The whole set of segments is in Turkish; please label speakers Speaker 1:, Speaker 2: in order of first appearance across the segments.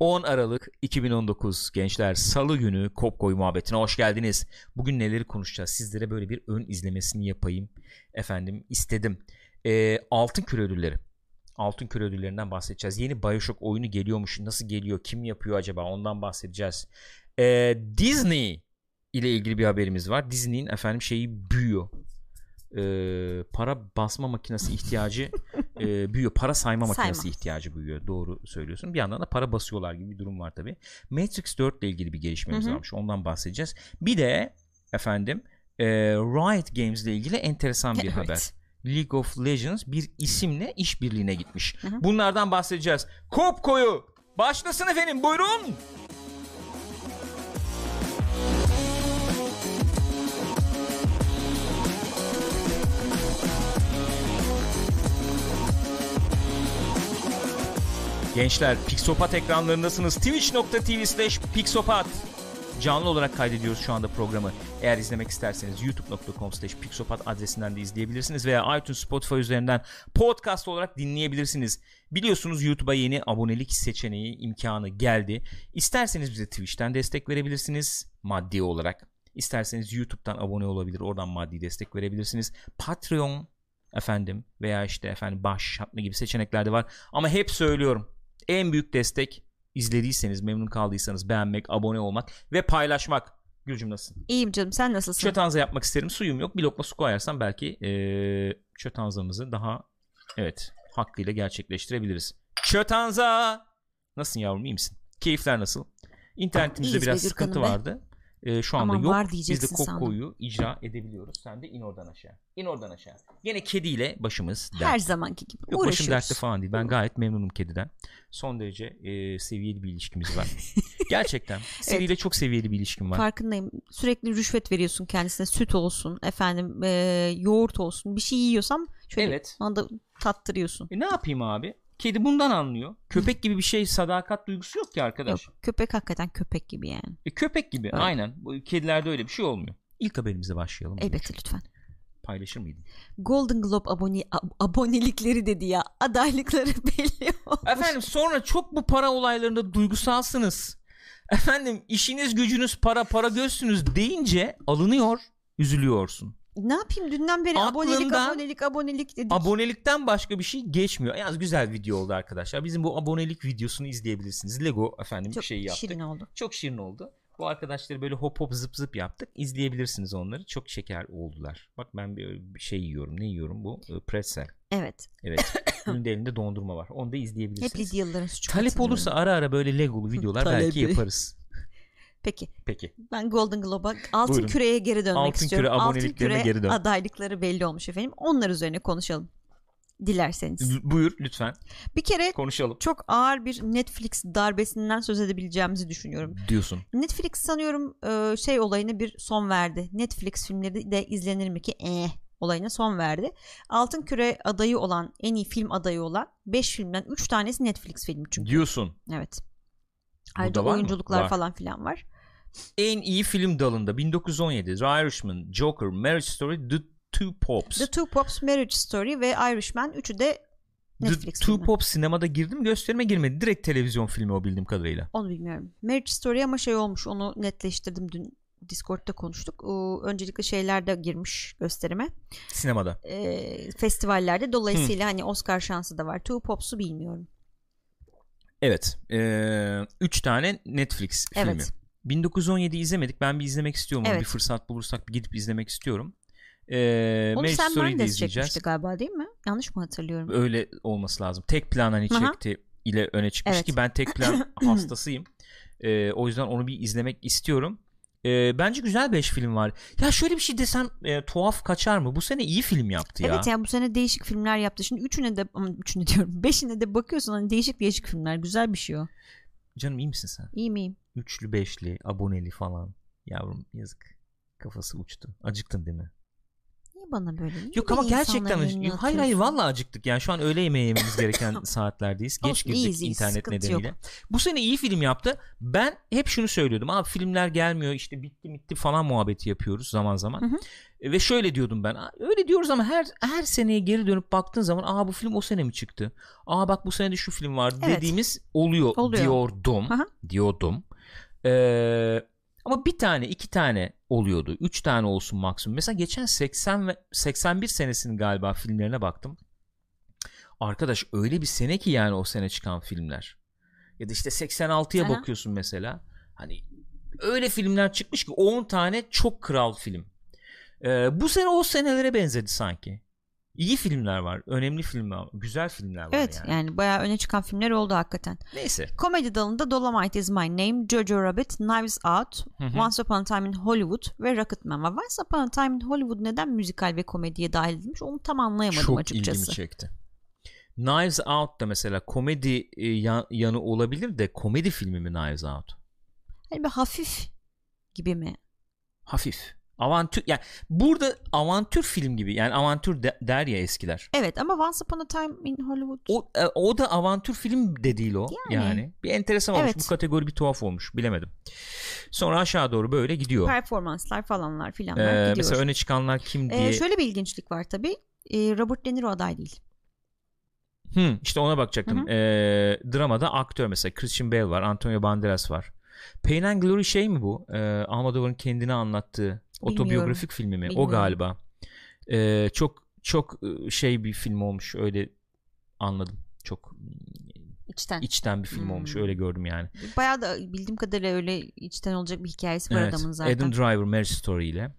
Speaker 1: 10 Aralık 2019 gençler salı günü Kopkoy muhabbetine hoş geldiniz. Bugün neleri konuşacağız sizlere böyle bir ön izlemesini yapayım efendim istedim. Ee, Altın Küre ödülleri. Altın Küre ödüllerinden bahsedeceğiz. Yeni Bioshock oyunu geliyormuş nasıl geliyor kim yapıyor acaba ondan bahsedeceğiz. Ee, Disney ile ilgili bir haberimiz var. Disney'in efendim şeyi büyüyor. Ee, para basma makinesi ihtiyacı e, büyüyor. Para sayma makinesi
Speaker 2: Sayma.
Speaker 1: ihtiyacı büyüyor. Doğru söylüyorsun. Bir yandan da para basıyorlar gibi bir durum var tabii. Matrix 4 ile ilgili bir gelişmemiz
Speaker 2: Hı hı.
Speaker 1: varmış. Ondan bahsedeceğiz. Bir de efendim e, Riot Games ile ilgili enteresan bir
Speaker 2: Evet.
Speaker 1: haber. League of Legends bir isimle işbirliğine gitmiş.
Speaker 2: Hı hı.
Speaker 1: Bunlardan bahsedeceğiz. Kop koyu başlasın efendim buyurun. Gençler Pixopat ekranlarındasınız. Twitch.tv slash Pixopat. Canlı olarak kaydediyoruz şu anda programı. Eğer izlemek isterseniz youtube.com slash pixopat adresinden de izleyebilirsiniz veya iTunes Spotify üzerinden podcast olarak dinleyebilirsiniz. Biliyorsunuz YouTube'a yeni abonelik seçeneği imkanı geldi. İsterseniz bize Twitch'ten destek verebilirsiniz maddi olarak. İsterseniz YouTube'dan abone olabilir oradan maddi destek verebilirsiniz. Patreon efendim veya işte efendim bağış hattı gibi seçenekler de var. Ama hep söylüyorum en büyük destek izlediyseniz memnun kaldıysanız beğenmek, abone olmak ve paylaşmak. Gülcüm nasılsın?
Speaker 2: İyiyim canım sen nasılsın?
Speaker 1: Çötanza yapmak isterim. Suyum yok. Bir lokma su koyarsam belki eee çötanzamızı daha evet hakkıyla gerçekleştirebiliriz. Çötanza! Nasılsın yavrum iyi misin? Keyifler nasıl? İnternetimizde
Speaker 2: İyiyiz be
Speaker 1: biraz
Speaker 2: Gürkan'ım
Speaker 1: sıkıntı
Speaker 2: be.
Speaker 1: vardı. Eee, şu anda
Speaker 2: Aman
Speaker 1: yok.
Speaker 2: var
Speaker 1: Biz de
Speaker 2: diyeceksin sandım.
Speaker 1: kokoyu icra edebiliyoruz. Sen de in oradan aşağı. İn oradan aşağı. Gene kediyle başımız
Speaker 2: Her
Speaker 1: dert.
Speaker 2: zamanki gibi
Speaker 1: Yok
Speaker 2: uğraşıyoruz.
Speaker 1: başım dertte falan değil. Ben gayet memnunum kediden. Son derece e, seviyeli bir ilişkimiz var. Gerçekten. Seriyle çok seviyeli bir ilişkim var.
Speaker 2: Farkındayım. Sürekli rüşvet veriyorsun kendisine. Süt olsun, efendim eee, yoğurt olsun. Bir şey yiyorsam şöyle
Speaker 1: Evet.
Speaker 2: bana da tattırıyorsun.
Speaker 1: E, ne yapayım abi? Kedi bundan anlıyor. Köpek gibi bir şey sadakat duygusu yok ki arkadaş.
Speaker 2: Yok, köpek hakikaten köpek gibi yani.
Speaker 1: E, köpek gibi
Speaker 2: Evet.
Speaker 1: aynen. Bu Kedilerde öyle bir şey olmuyor. İlk haberimize başlayalım.
Speaker 2: Elbette lütfen.
Speaker 1: Paylaşır mıydın?
Speaker 2: Golden Globe abone, ab- abonelikleri dedi ya. Adaylıkları belli olmuş.
Speaker 1: Efendim sonra çok bu para olaylarında duygusalsınız. Efendim işiniz gücünüz para para gözsünüz deyince alınıyor üzülüyorsun.
Speaker 2: Ne yapayım dünden beri abonelik
Speaker 1: Aklından-
Speaker 2: abonelik abonelik dedik.
Speaker 1: Abonelikten başka bir şey geçmiyor. Yalnız güzel video oldu arkadaşlar. Bizim bu abonelik videosunu izleyebilirsiniz. Lego efendim
Speaker 2: Çok
Speaker 1: şeyi şey yaptık.
Speaker 2: şirin oldu.
Speaker 1: Çok şirin oldu. Bu arkadaşları böyle hop hop zıp zıp yaptık. İzleyebilirsiniz onları. Çok şeker oldular. Bak ben bir bir şey yiyorum. Ne yiyorum bu? Ee, Pretzel.
Speaker 2: Evet.
Speaker 1: Evet. Bunun da elinde dondurma var. Onu da izleyebilirsiniz.
Speaker 2: Hep Lidyalıların suçu.
Speaker 1: Talep
Speaker 2: katılıyorum.
Speaker 1: olursa ara ara böyle Legolu videolar belki
Speaker 2: Talebi.
Speaker 1: yaparız.
Speaker 2: Peki.
Speaker 1: Peki.
Speaker 2: Ben Golden Globe'a altın
Speaker 1: Buyurun.
Speaker 2: küreye geri dönmek
Speaker 1: Altın
Speaker 2: istiyorum.
Speaker 1: küre
Speaker 2: altın
Speaker 1: aboneliklerine
Speaker 2: küre
Speaker 1: geri dön.
Speaker 2: adaylıkları belli olmuş efendim. Onlar üzerine konuşalım. Dilerseniz.
Speaker 1: L- Buyur lütfen.
Speaker 2: Bir kere
Speaker 1: Konuşalım.
Speaker 2: çok ağır bir Netflix darbesinden söz edebileceğimizi düşünüyorum.
Speaker 1: Diyorsun.
Speaker 2: Netflix sanıyorum e, şey olayına bir son verdi. Netflix filmleri de izlenir mi ki? Eh olayına son verdi. Altın Küre adayı olan, en iyi film adayı olan 5 filmden 3 tanesi Netflix filmi çünkü.
Speaker 1: Diyorsun.
Speaker 2: Evet. Ayrıca
Speaker 1: da var mı?
Speaker 2: oyunculuklar
Speaker 1: Var.
Speaker 2: falan filan var.
Speaker 1: En iyi film dalında 1917, The Irishman, Joker, Marriage Story, The Two Pops.
Speaker 2: The Two Pops, Marriage Story ve Irishman üçü de
Speaker 1: The
Speaker 2: Netflix
Speaker 1: Two
Speaker 2: filmi.
Speaker 1: Pop sinemada girdim gösterime girmedi. Direkt televizyon filmi o bildiğim kadarıyla.
Speaker 2: Onu bilmiyorum. Marriage Story ama şey olmuş onu netleştirdim dün Discord'da konuştuk. Ee, öncelikle şeylerde girmiş gösterime.
Speaker 1: Sinemada.
Speaker 2: Ee, festivallerde. Dolayısıyla hani Oscar şansı da var. Two Pops'u bilmiyorum.
Speaker 1: Evet. Ee, üç tane Netflix filmi.
Speaker 2: Evet.
Speaker 1: 1917 izlemedik. Ben bir izlemek istiyorum. onu.
Speaker 2: Evet.
Speaker 1: Bir fırsat bulursak bir gidip izlemek istiyorum. Ee,
Speaker 2: Onu
Speaker 1: Marriage
Speaker 2: sen
Speaker 1: Story'yi de
Speaker 2: Mendes
Speaker 1: izleyeceğiz.
Speaker 2: çekmişti galiba değil mi? Yanlış mı hatırlıyorum?
Speaker 1: Öyle olması lazım. Tek plan hani
Speaker 2: Aha.
Speaker 1: çekti ile öne çıkmış
Speaker 2: Evet.
Speaker 1: ki ben tek plan hastasıyım. Ee, o yüzden onu bir izlemek istiyorum. Ee, bence güzel 5 film var. Ya şöyle bir şey desem e, tuhaf kaçar mı? Bu sene iyi film yaptı ya.
Speaker 2: Evet ya bu sene değişik filmler yaptı. Şimdi üçüne de aman üçüne diyorum. Beşine de bakıyorsun hani değişik değişik filmler. Güzel bir şey o.
Speaker 1: Canım iyi misin sen?
Speaker 2: İyi miyim?
Speaker 1: üçlü beşli aboneli falan. Yavrum yazık. Kafası uçtu. Acıktın değil mi?
Speaker 2: Niye bana böyle? Niye
Speaker 1: Yok
Speaker 2: beni
Speaker 1: ama gerçekten
Speaker 2: insanların
Speaker 1: acı-
Speaker 2: önüne
Speaker 1: hayır hayır
Speaker 2: atıyorsun?
Speaker 1: vallahi acıktık yani şu an öğle yemeği yememiz gereken saatlerdeyiz. Geç
Speaker 2: Olsun,
Speaker 1: girdik
Speaker 2: iyiyiz, iyiyiz.
Speaker 1: internet
Speaker 2: Sıkıntı
Speaker 1: nedeniyle.
Speaker 2: yok.
Speaker 1: Bu sene iyi film yaptı. Ben hep şunu söylüyordum. Abi filmler gelmiyor işte bitti bitti falan muhabbeti yapıyoruz zaman zaman.
Speaker 2: Hı hı.
Speaker 1: E, Ve şöyle diyordum ben. "Aa, Öyle diyoruz ama her her seneye geri dönüp baktığın zaman aa bu film o sene mi çıktı? Aa bak bu sene de şu film vardı
Speaker 2: Evet.
Speaker 1: dediğimiz oluyor,
Speaker 2: Oluyor.
Speaker 1: diyordum.
Speaker 2: Aha.
Speaker 1: Diyordum. Ee, ama bir tane iki tane oluyordu. Üç tane olsun maksimum. Mesela geçen 80 ve 81 senesinin galiba filmlerine baktım. Arkadaş öyle bir sene ki yani o sene çıkan filmler. Ya da işte 86'ya
Speaker 2: Aha.
Speaker 1: bakıyorsun mesela. Hani öyle filmler çıkmış ki 10 tane çok kral film. Ee, bu sene o senelere benzedi sanki. İyi filmler var. Önemli filmler var. Güzel filmler var
Speaker 2: Evet yani.
Speaker 1: yani.
Speaker 2: bayağı öne çıkan filmler oldu hakikaten.
Speaker 1: Neyse.
Speaker 2: Komedi dalında Dolomite is my name, Jojo Rabbit, Knives Out,
Speaker 1: Hı hı.
Speaker 2: Once Upon a Time in Hollywood ve Rocketman var. Once Upon a Time in Hollywood neden müzikal ve komediye dahil edilmiş onu tam anlayamadım
Speaker 1: Çok
Speaker 2: açıkçası.
Speaker 1: ilgimi çekti. Knives Out da mesela komedi e, ya- yanı olabilir de komedi filmi mi Knives Out?
Speaker 2: Hani bir hafif gibi mi?
Speaker 1: Hafif. Avantür yani burada avantür film gibi yani avantür de- der ya eskiler.
Speaker 2: Evet ama Once Upon a Time in Hollywood.
Speaker 1: O, e, o da avantür film de değil o yani.
Speaker 2: Yani.
Speaker 1: Bir enteresan olmuş
Speaker 2: Evet.
Speaker 1: bu kategori bir tuhaf olmuş bilemedim. Sonra aşağı doğru böyle gidiyor.
Speaker 2: Performanslar falanlar
Speaker 1: Ee,
Speaker 2: filanlar gidiyor.
Speaker 1: mesela öne çıkanlar kim
Speaker 2: Ee,
Speaker 1: diye.
Speaker 2: şöyle bir ilginçlik var tabii. Ee, Robert De Niro aday değil.
Speaker 1: Hı, işte ona bakacaktım.
Speaker 2: Hı hı.
Speaker 1: Ee, dramada aktör mesela Christian Bale var, Antonio Banderas var. Pain and Glory şey mi bu? Ee, Almodovar'ın kendini anlattığı otobiyografik filmi mi? O
Speaker 2: Bilmiyorum.
Speaker 1: galiba. Ee, çok çok e, şey bir film olmuş öyle anladım. Çok
Speaker 2: İçten.
Speaker 1: içten bir film olmuş
Speaker 2: Hmm.
Speaker 1: öyle gördüm yani.
Speaker 2: Bayağı da bildiğim kadarıyla öyle içten olacak bir hikayesi var
Speaker 1: Evet,
Speaker 2: adamın zaten.
Speaker 1: Adam Driver Marriage Story ile.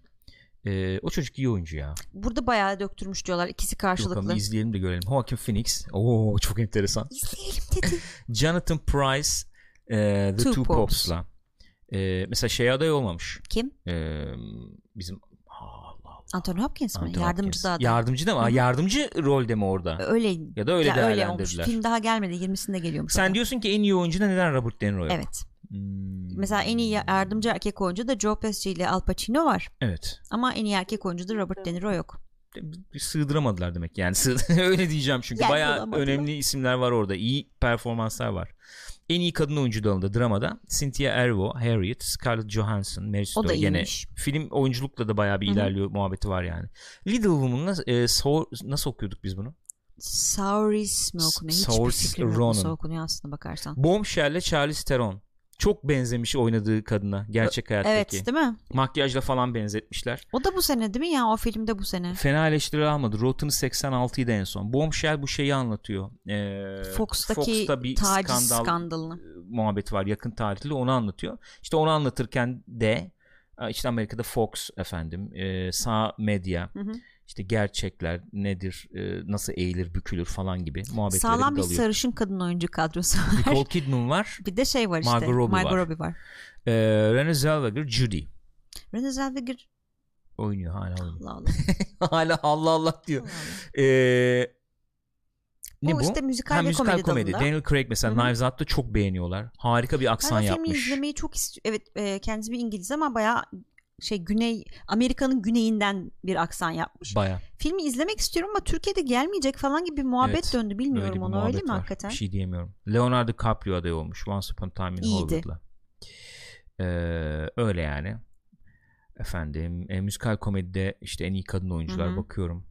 Speaker 1: Ee, o çocuk iyi oyuncu ya.
Speaker 2: Burada bayağı döktürmüş diyorlar ikisi
Speaker 1: Bakalım
Speaker 2: karşılıklı.
Speaker 1: izleyelim de görelim. Joaquin Phoenix. Oo çok enteresan.
Speaker 2: İzleyelim dedi.
Speaker 1: Jonathan Price e, The Two,
Speaker 2: Two Popes.
Speaker 1: Pops'la. E, mesela şey aday olmamış.
Speaker 2: Kim?
Speaker 1: E, bizim Allah Allah.
Speaker 2: Anthony Hopkins mi?
Speaker 1: Anthony Hopkins.
Speaker 2: Yardımcı da aday.
Speaker 1: Yardımcı da mı?
Speaker 2: Hı hı.
Speaker 1: Yardımcı rolde mi orada?
Speaker 2: Öyle
Speaker 1: Ya da öyle
Speaker 2: ya öyle olmuş.
Speaker 1: değerlendirdiler.
Speaker 2: Film daha gelmedi. 20'sinde geliyormuş. o da.
Speaker 1: Sen diyorsun ki en iyi oyuncuda neden Robert De Niro yok?
Speaker 2: Evet.
Speaker 1: Hmm,
Speaker 2: Mesela en iyi yardımcı erkek oyuncu da Joe Pesci ile Al Pacino var.
Speaker 1: Evet.
Speaker 2: Ama en iyi erkek oyuncu da Robert De Niro yok.
Speaker 1: Bir Sığdıramadılar demek yani. Sığ- öyle diyeceğim çünkü.
Speaker 2: Yer
Speaker 1: Bayağı
Speaker 2: bulamadılar.
Speaker 1: önemli isimler var orada. İyi performanslar var. En iyi kadın oyuncu dalında dramada Cynthia Erivo, Harriet, Scarlett Johansson, Mary
Speaker 2: O da
Speaker 1: Story. Gene
Speaker 2: iyiymiş.
Speaker 1: film oyunculukla da bayağı bir
Speaker 2: Hı hı.
Speaker 1: ilerliyor muhabbeti var yani. Little Woman'la e, Sour, nasıl okuyorduk biz bunu?
Speaker 2: Sauris mi okunuyor? Hiçbir
Speaker 1: Saoirse
Speaker 2: fikrim yok
Speaker 1: Ronan.
Speaker 2: nasıl okunuyor aslında bakarsan.
Speaker 1: Bombshell'le Charlize Theron. Çok benzemiş oynadığı kadına gerçek hayattaki.
Speaker 2: Evet değil mi?
Speaker 1: Makyajla falan benzetmişler.
Speaker 2: O da bu sene değil mi ya? O filmde bu sene.
Speaker 1: Fena eleştiri almadı. Rotten 86'ydı en son. Bombshell bu şeyi anlatıyor. Ee,
Speaker 2: Fox'taki
Speaker 1: Fox'ta bir
Speaker 2: taciz
Speaker 1: skandal
Speaker 2: skandalını.
Speaker 1: muhabbet e, var yakın tarihli onu anlatıyor. İşte onu anlatırken de e, işte Amerika'da Fox efendim e, sağ medya
Speaker 2: Hı hı.
Speaker 1: işte gerçekler nedir e, nasıl eğilir bükülür falan gibi muhabbetlere
Speaker 2: Sağlam bir
Speaker 1: dalıyor.
Speaker 2: sarışın kadın oyuncu kadrosu var.
Speaker 1: Nicole Kidman var.
Speaker 2: bir de şey var işte.
Speaker 1: Margot Robbie var.
Speaker 2: Robbie var.
Speaker 1: E, Renée Zellweger Judy
Speaker 2: Renée Zellweger
Speaker 1: oynuyor hala oynuyor.
Speaker 2: Allah Allah.
Speaker 1: hala Allah Allah diyor.
Speaker 2: Allah Allah.
Speaker 1: E, ne
Speaker 2: bu,
Speaker 1: bu?
Speaker 2: işte müzikal
Speaker 1: Hem
Speaker 2: ve
Speaker 1: müzikal komedi.
Speaker 2: komedi, dalında.
Speaker 1: Daniel Craig mesela
Speaker 2: Hı hı.
Speaker 1: Knives Out'ta çok beğeniyorlar. Harika bir aksan
Speaker 2: Ben o filmi
Speaker 1: yapmış.
Speaker 2: izlemeyi çok istiyorum. Evet e, kendisi bir İngiliz ama bayağı şey güney Amerika'nın güneyinden bir aksan yapmış.
Speaker 1: Baya.
Speaker 2: Filmi izlemek istiyorum ama Türkiye'de gelmeyecek falan gibi bir muhabbet
Speaker 1: Evet,
Speaker 2: döndü.
Speaker 1: Öyle
Speaker 2: Bilmiyorum
Speaker 1: bir
Speaker 2: onu öyle
Speaker 1: muhabbet
Speaker 2: mi
Speaker 1: var.
Speaker 2: hakikaten?
Speaker 1: Bir şey diyemiyorum. Leonardo DiCaprio aday olmuş Once Upon a Time in
Speaker 2: İyiydi.
Speaker 1: Hollywood'la. Ee, öyle yani. Efendim e, müzikal komedide işte en iyi kadın oyuncular
Speaker 2: Hı hı.
Speaker 1: bakıyorum.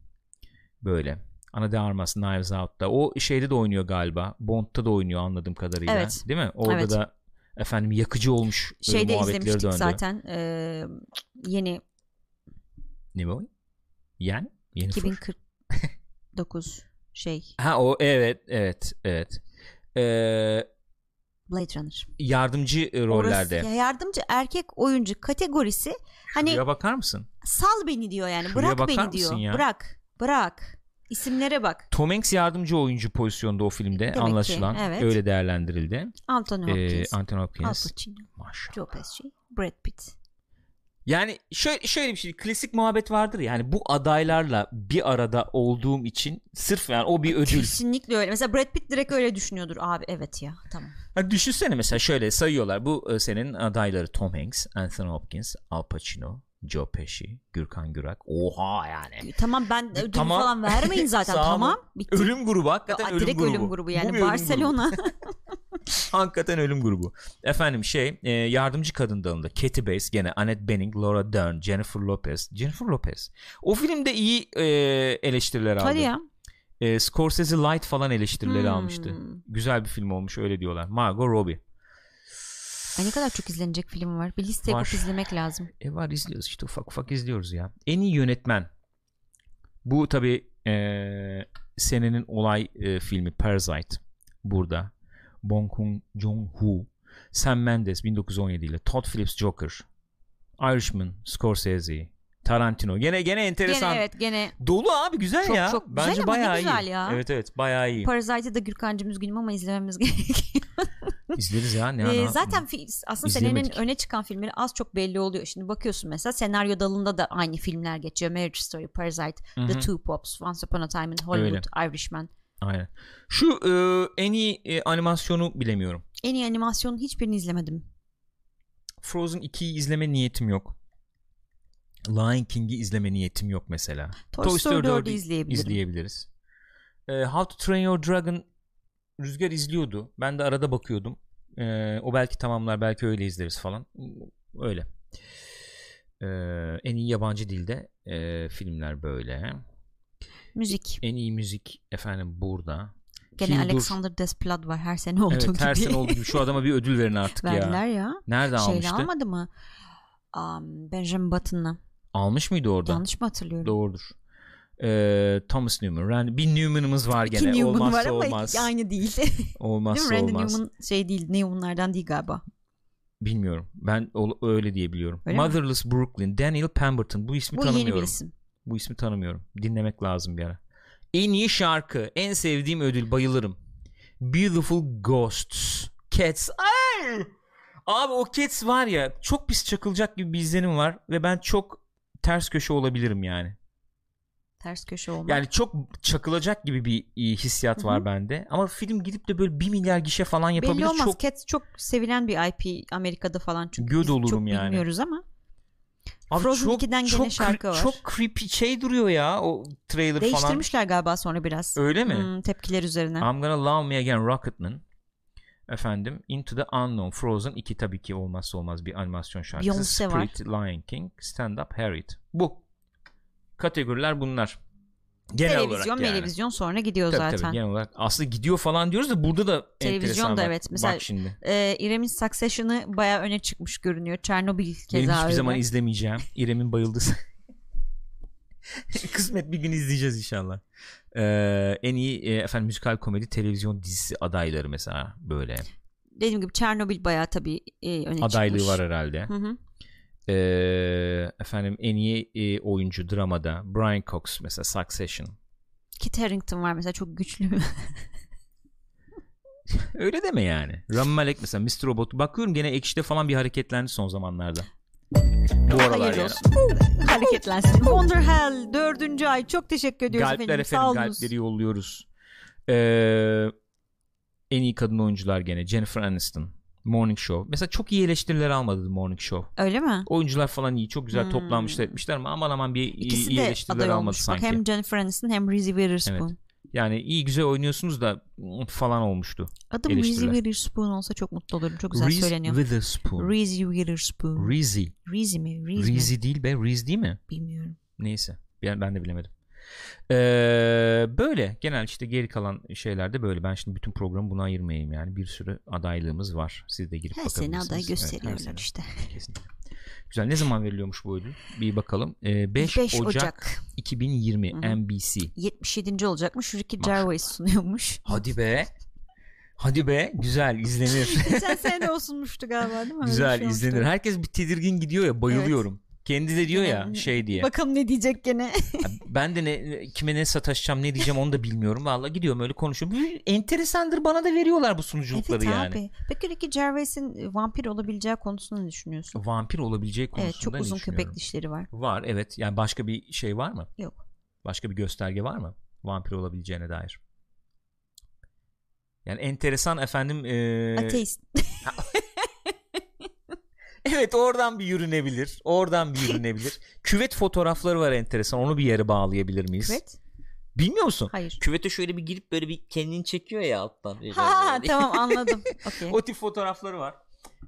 Speaker 1: Böyle. Ana de Armas Knives Out'ta. O şeyde de oynuyor galiba. Bond'da da oynuyor anladığım kadarıyla.
Speaker 2: Evet.
Speaker 1: Değil mi? Orada
Speaker 2: Evet.
Speaker 1: da efendim yakıcı olmuş e,
Speaker 2: Şeyde
Speaker 1: muhabbetleri
Speaker 2: izlemiştik
Speaker 1: döndü.
Speaker 2: zaten e, yeni
Speaker 1: Ne bu? Yani? Yeni
Speaker 2: 2049 şey
Speaker 1: Ha o evet evet evet. Ee,
Speaker 2: Blade Runner.
Speaker 1: yardımcı e, rollerde.
Speaker 2: Orası, ya yardımcı erkek oyuncu kategorisi hani
Speaker 1: Şuraya bakar mısın?
Speaker 2: sal beni diyor yani
Speaker 1: Şuraya
Speaker 2: bırak
Speaker 1: bakar
Speaker 2: beni
Speaker 1: mısın
Speaker 2: diyor.
Speaker 1: ya?
Speaker 2: Bırak bırak isimlere bak.
Speaker 1: Tom Hanks yardımcı oyuncu pozisyonda o filmde
Speaker 2: Demek ki,
Speaker 1: anlaşılan
Speaker 2: evet.
Speaker 1: öyle değerlendirildi.
Speaker 2: Anthony
Speaker 1: Ee,
Speaker 2: Hopkins,
Speaker 1: Anthony
Speaker 2: Al
Speaker 1: Hopkins.
Speaker 2: Pacino,
Speaker 1: Maşallah.
Speaker 2: Joe Pesci, Brad Pitt.
Speaker 1: Yani şöyle, şöyle bir şey klasik muhabbet vardır yani bu adaylarla bir arada olduğum için sırf yani o bir ödül.
Speaker 2: Kesinlikle öyle. Mesela Brad Pitt direkt öyle düşünüyordur abi. Evet ya tamam.
Speaker 1: Ha, düşünsene mesela şöyle sayıyorlar bu e, senin adayları Tom Hanks, Anthony Hopkins, Al Pacino, Joe Pesci, Gürkan Gürak. Oha yani.
Speaker 2: Tamam ben ödül
Speaker 1: Tamam.
Speaker 2: falan vermeyin zaten
Speaker 1: Sağ olun.
Speaker 2: tamam. Bitti.
Speaker 1: Ölüm grubu hakikaten
Speaker 2: Aa,
Speaker 1: ölüm
Speaker 2: direkt
Speaker 1: grubu.
Speaker 2: ölüm grubu
Speaker 1: Bu
Speaker 2: yani
Speaker 1: bir ölüm grubu.
Speaker 2: Barcelona.
Speaker 1: Hakikaten ölüm grubu. Efendim şey e, yardımcı kadın dalında Katie Bates gene Annette Bening, Laura Dern, Jennifer Lopez. Jennifer Lopez. O filmde iyi e, eleştiriler aldı.
Speaker 2: Hadi ya.
Speaker 1: E, Scorsese Light falan eleştirileri
Speaker 2: Hmm.
Speaker 1: almıştı. Güzel bir film olmuş öyle diyorlar. Margot Robbie.
Speaker 2: Ay ne kadar çok izlenecek film var. Bir liste yapıp
Speaker 1: Var.
Speaker 2: izlemek lazım.
Speaker 1: E var izliyoruz işte ufak ufak izliyoruz ya. En iyi yönetmen. Bu tabi senenin olay e, filmi Parasite burada. Bong Joon Jong-ho, Sam Mendes 1917 ile Todd Phillips Joker, Irishman, Scorsese, Tarantino. Gene gene enteresan.
Speaker 2: Gene evet gene
Speaker 1: Dolu abi güzel
Speaker 2: Çok
Speaker 1: ya.
Speaker 2: çok güzel
Speaker 1: Bence
Speaker 2: ama ne
Speaker 1: bayağı
Speaker 2: güzel
Speaker 1: iyi.
Speaker 2: ya.
Speaker 1: Evet evet bayağı iyi.
Speaker 2: Parasite'ı da Gürkan'cım üzgünüm ama izlememiz gerekiyor.
Speaker 1: İzleriz ya ne
Speaker 2: Ee,
Speaker 1: ana.
Speaker 2: zaten fi- aslında
Speaker 1: İzleyemedik.
Speaker 2: senenin öne çıkan filmleri az çok belli oluyor. Şimdi bakıyorsun mesela senaryo dalında da aynı filmler geçiyor. Marriage Story, Parasite,
Speaker 1: Hı hı.
Speaker 2: The Two Pops, Once Upon a Time in Hollywood, Irishman.
Speaker 1: Aynen. Şu e, en iyi e, animasyonu bilemiyorum.
Speaker 2: En iyi animasyonun hiçbirini izlemedim.
Speaker 1: Frozen 2'yi izleme niyetim yok. Lion King'i izleme niyetim yok mesela.
Speaker 2: Toy, Story 4'ü izleyebilirim.
Speaker 1: izleyebiliriz. Ee, How to Train Your Dragon Rüzgar izliyordu. Ben de arada bakıyordum. Ee, o belki tamamlar belki öyle izleriz falan. Öyle. Ee, en iyi yabancı dilde e, filmler böyle.
Speaker 2: Müzik.
Speaker 1: En iyi müzik efendim burada.
Speaker 2: Gene
Speaker 1: Hildur.
Speaker 2: Alexander Desplat var her sene olduğu
Speaker 1: Evet
Speaker 2: gibi.
Speaker 1: her sene olduğu gibi şu adama bir ödül verin artık
Speaker 2: Verdiler
Speaker 1: ya.
Speaker 2: ya.
Speaker 1: Nerede
Speaker 2: Şeyle
Speaker 1: almıştı?
Speaker 2: almadı mı? Um, Benjamin Button'la.
Speaker 1: Almış mıydı orada?
Speaker 2: Yanlış mı hatırlıyorum?
Speaker 1: Doğrudur. Ee, Thomas Newman. Ran- bir Newman'ımız var
Speaker 2: İki
Speaker 1: gene.
Speaker 2: Newman
Speaker 1: olmazsa
Speaker 2: var ama
Speaker 1: olmaz.
Speaker 2: iki- aynı değil. Değil mi?
Speaker 1: Olmazsa
Speaker 2: Randy
Speaker 1: olmaz.
Speaker 2: Newman şey değil. Newman'lardan değil galiba.
Speaker 1: Bilmiyorum. Ben ol- öyle diye biliyorum.
Speaker 2: Öyle mi?
Speaker 1: Motherless Brooklyn, Daniel Pemberton. Bu ismi
Speaker 2: Bu yeni bir
Speaker 1: tanımıyorum.
Speaker 2: isim.
Speaker 1: Bu ismi tanımıyorum. Dinlemek lazım bir ara. En iyi şarkı, en sevdiğim ödül, bayılırım. Beautiful Ghosts, Cats. Ay! Abi o Cats var ya, çok pis çakılacak gibi bir izlenim var ve ben çok ters köşe olabilirim yani.
Speaker 2: Ters köşe olmak.
Speaker 1: Yani çok çakılacak gibi bir e, hissiyat var bende. Ama film gidip de böyle 1 milyar gişe falan yapabilir.
Speaker 2: Belli olmaz.
Speaker 1: Çok
Speaker 2: Cats çok sevilen bir IP Amerika'da falan çünkü
Speaker 1: Göd
Speaker 2: biz
Speaker 1: olurum
Speaker 2: çok
Speaker 1: yani.
Speaker 2: bilmiyoruz ama.
Speaker 1: Abi
Speaker 2: Frozen 2'den gene
Speaker 1: çok, cre-
Speaker 2: şarkı var.
Speaker 1: Çok creepy şey duruyor ya o trailer falan.
Speaker 2: Değiştirmişler galiba sonra biraz.
Speaker 1: Öyle mi?
Speaker 2: Hmm, tepkiler üzerine.
Speaker 1: I'm Gonna Love Me Again Rocketman. Efendim Into the Unknown Frozen 2 tabii ki olmazsa olmaz bir animasyon şarkısı.
Speaker 2: Beyoncé var.
Speaker 1: Spirit, Lion King, Stand Up, Harriet. Bu. Kategoriler bunlar. Genel olarak
Speaker 2: televizyon,
Speaker 1: yani.
Speaker 2: televizyon sonra gidiyor
Speaker 1: Tabii,
Speaker 2: zaten.
Speaker 1: tabii, genel olarak. Aslında gidiyor falan diyoruz da burada da
Speaker 2: Televizyon
Speaker 1: enteresan
Speaker 2: da
Speaker 1: bak.
Speaker 2: evet, mesela-
Speaker 1: Bak şimdi.
Speaker 2: Ee, İrem'in Succession'ı bayağı öne çıkmış görünüyor. Çernobil keza
Speaker 1: Benim hiçbir
Speaker 2: öyle.
Speaker 1: zaman izlemeyeceğim. İrem'in bayıldığı Kısmet bir gün izleyeceğiz inşallah. Ee, en iyi e, efendim müzikal komedi televizyon dizisi adayları mesela böyle
Speaker 2: Dediğim gibi Çernobil bayağı tabii e, öne
Speaker 1: adaylığı
Speaker 2: çıkmış.
Speaker 1: var herhalde.
Speaker 2: Hı hı.
Speaker 1: Ee, efendim en iyi e, oyuncu dramada Brian Cox mesela Succession.
Speaker 2: Kit Harington var mesela çok güçlü.
Speaker 1: Öyle deme yani. Rami Malek mesela Mr. Robot. Bakıyorum gene ekşide falan bir hareketlendi son zamanlarda. Bu aralar
Speaker 2: Hayırlı
Speaker 1: yani.
Speaker 2: olsun. Hareketlensin. Wonder Hell dördüncü ay. Çok teşekkür ediyoruz
Speaker 1: Galpler
Speaker 2: efendim. Sağ
Speaker 1: efendim
Speaker 2: olunuz.
Speaker 1: galpleri yolluyoruz. Ee, en iyi kadın oyuncular gene Jennifer Aniston. Morning Show. Mesela çok iyi eleştiriler almadı The Morning Show.
Speaker 2: Öyle mi?
Speaker 1: Oyuncular falan iyi. Çok güzel
Speaker 2: Hmm.
Speaker 1: toplanmışlar etmişler ama aman aman bir iyi,
Speaker 2: İkisi
Speaker 1: iyi
Speaker 2: de
Speaker 1: eleştiriler
Speaker 2: aday
Speaker 1: almadı
Speaker 2: olmuş. Bak,
Speaker 1: sanki.
Speaker 2: hem Jennifer Aniston hem Reese Witherspoon.
Speaker 1: Yani iyi güzel oynuyorsunuz da mm, falan olmuştu.
Speaker 2: Adım Reese
Speaker 1: Eleştiriler.
Speaker 2: Witherspoon olsa çok mutlu olurum. Çok güzel
Speaker 1: Reese
Speaker 2: söyleniyor.
Speaker 1: Witherspoon.
Speaker 2: Reese Witherspoon.
Speaker 1: Reese.
Speaker 2: Reese mi? Reese, mi?
Speaker 1: Reese değil be. Reese değil mi?
Speaker 2: Bilmiyorum.
Speaker 1: Neyse. Ben, ben de bilemedim. Ee, böyle. Genel işte geri kalan şeylerde böyle. Ben şimdi bütün programı buna ayırmayayım yani. Bir sürü adaylığımız var. Siz de girip
Speaker 2: Her sene
Speaker 1: bakabilirsiniz.
Speaker 2: aday
Speaker 1: Evet, her
Speaker 2: gösteriyorlar
Speaker 1: sene.
Speaker 2: işte.
Speaker 1: Kesinlikle. Güzel. Ne zaman veriliyormuş bu ödül? Bir bakalım. Ee, 5,
Speaker 2: 5 Ocak,
Speaker 1: Ocak, 2020
Speaker 2: Hı hı.
Speaker 1: NBC.
Speaker 2: 77. olacakmış. Ricky
Speaker 1: Maşallah.
Speaker 2: Gervais sunuyormuş.
Speaker 1: Hadi be. Hadi be. Güzel. izlenir.
Speaker 2: Geçen sene olsunmuştu galiba değil mi? Öyle bir
Speaker 1: Güzel
Speaker 2: şey olmuştu.
Speaker 1: izlenir. Herkes bir tedirgin gidiyor ya. Bayılıyorum. Kendi de diyor ya
Speaker 2: Yani-
Speaker 1: şey diye.
Speaker 2: Bakalım ne diyecek gene.
Speaker 1: Ya ben de ne, kime ne sataşacağım ne diyeceğim onu da bilmiyorum. Valla gidiyorum öyle konuşuyorum. Bir Enteresandır bana da veriyorlar bu sunuculukları
Speaker 2: evet
Speaker 1: yani.
Speaker 2: abi. Peki Ricky Gervais'in e, vampir olabileceği konusunda ne düşünüyorsun?
Speaker 1: Vampir olabileceği konusunda
Speaker 2: Evet çok
Speaker 1: ne
Speaker 2: uzun
Speaker 1: düşünüyorum?
Speaker 2: köpek dişleri var.
Speaker 1: Var evet. Yani başka bir şey var mı?
Speaker 2: Yok.
Speaker 1: Başka bir gösterge var mı? Vampir olabileceğine dair. Yani enteresan efendim. ee,
Speaker 2: Ateist.
Speaker 1: Evet oradan bir yürünebilir. Oradan bir yürünebilir. Küvet fotoğrafları var enteresan. Onu bir yere bağlayabilir miyiz?
Speaker 2: Evet.
Speaker 1: Bilmiyor musun?
Speaker 2: Hayır.
Speaker 3: Küvete şöyle bir girip böyle bir kendini çekiyor ya alttan.
Speaker 1: Şey
Speaker 3: Böyle
Speaker 2: Ha
Speaker 3: böyle.
Speaker 2: tamam anladım. Okey.
Speaker 1: O tip fotoğrafları var.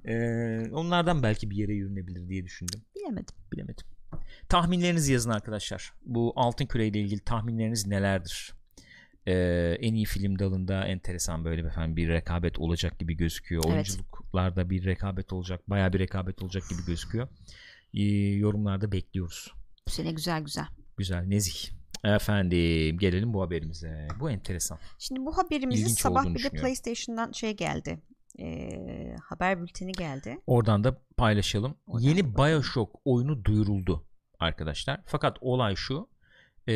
Speaker 1: Ee, onlardan belki bir yere yürünebilir diye düşündüm.
Speaker 2: Bilemedim.
Speaker 1: Bilemedim. Tahminlerinizi yazın arkadaşlar. Bu altın küreyle ilgili tahminleriniz nelerdir? Ee, en iyi film dalında enteresan böyle bir- efendim bir rekabet olacak gibi gözüküyor.
Speaker 2: Evet.
Speaker 1: Oyunculuklarda bir rekabet olacak, bayağı bir rekabet olacak gibi gözüküyor. Ee, yorumlarda bekliyoruz.
Speaker 2: Bu sene güzel güzel.
Speaker 1: Güzel, nezih. Efendim gelelim bu haberimize. Bu enteresan.
Speaker 2: Şimdi bu haberimizi
Speaker 1: İlginç
Speaker 2: sabah
Speaker 1: olduğunu
Speaker 2: bir de
Speaker 1: düşünüyorum.
Speaker 2: PlayStation'dan şey geldi. Ee, haber bülteni geldi.
Speaker 1: Oradan da paylaşalım.
Speaker 2: Oradan
Speaker 1: Yeni
Speaker 2: da paylaşalım.
Speaker 1: Bioshock oyunu duyuruldu arkadaşlar. Fakat olay şu. E,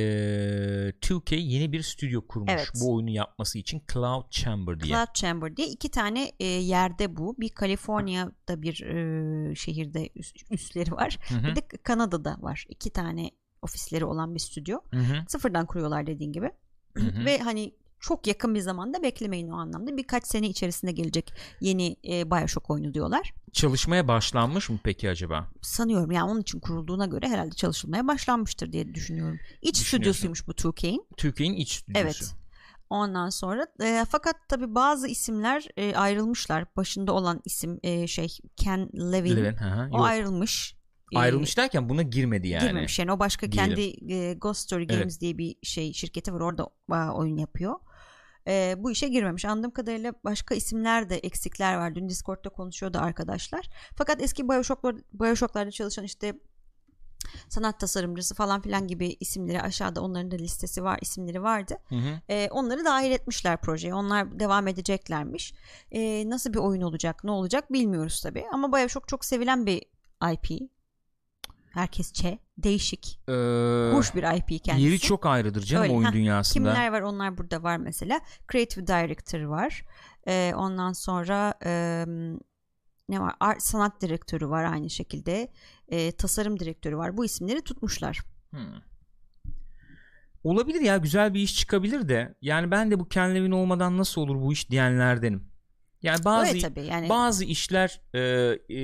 Speaker 1: 2K yeni bir stüdyo kurmuş
Speaker 2: Evet.
Speaker 1: bu oyunu yapması için Cloud Chamber diye.
Speaker 2: Cloud Chamber diye iki tane e, yerde bu. Bir Kaliforniya'da bir e, şehirde üs- üsleri var.
Speaker 1: Hı hı,
Speaker 2: Bir de Kanada'da var. İki tane ofisleri olan bir stüdyo.
Speaker 1: hı hı.
Speaker 2: Sıfırdan kuruyorlar dediğin gibi.
Speaker 1: Hı hı.
Speaker 2: Ve hani çok yakın bir zamanda beklemeyin o anlamda. Birkaç sene içerisinde gelecek yeni e, Bioshock oyunu diyorlar.
Speaker 1: Çalışmaya başlanmış mı peki acaba?
Speaker 2: Sanıyorum yani onun için kurulduğuna göre herhalde çalışılmaya başlanmıştır diye düşünüyorum. İç
Speaker 1: Düşünüyorsun.
Speaker 2: stüdyosuymuş bu 2K'in.
Speaker 1: Türkiye'nin iç stüdyosu.
Speaker 2: Evet. Ondan sonra e, fakat tabi bazı isimler e, ayrılmışlar. Başında olan isim e, şey Ken Levin.
Speaker 1: Levin, hı hı,
Speaker 2: O
Speaker 1: yok.
Speaker 2: ayrılmış. E,
Speaker 1: Ayrılmış derken buna girmedi yani.
Speaker 2: Girmemiş yani o başka
Speaker 1: Diyelim.
Speaker 2: kendi e, Ghost Story Games diye bir şey şirketi var orada e, oyun yapıyor. E, bu işe girmemiş. Anladığım kadarıyla başka isimler de eksikler var. Dün Discord'da konuşuyordu arkadaşlar. Fakat eski Bioshock'lar, Bioshock'larda çalışan işte sanat tasarımcısı falan filan gibi isimleri aşağıda onların da listesi var isimleri vardı.
Speaker 1: Hı hı.
Speaker 2: E, onları dahil etmişler projeye. Onlar devam edeceklermiş. E, nasıl bir oyun olacak, ne olacak bilmiyoruz tabii. Ama Bioshock çok sevilen bir IP. Herkesçe. Değişik.
Speaker 1: Ee,
Speaker 2: Hoş bir IP kendisi.
Speaker 1: Yeri çok ayrıdır canım
Speaker 2: Öyle,
Speaker 1: oyun
Speaker 2: heh.
Speaker 1: dünyasında.
Speaker 2: Kimler var onlar burada var mesela. Creative Director var. E, ondan sonra e, ne var? Art, sanat direktörü var aynı şekilde. E, tasarım direktörü var. Bu isimleri tutmuşlar.
Speaker 1: Hmm. Olabilir ya güzel bir iş çıkabilir de yani ben de bu Ken Levin olmadan nasıl olur bu iş diyenlerdenim. Yani bazı
Speaker 2: Öyle tabii yani.
Speaker 1: bazı işler e, e,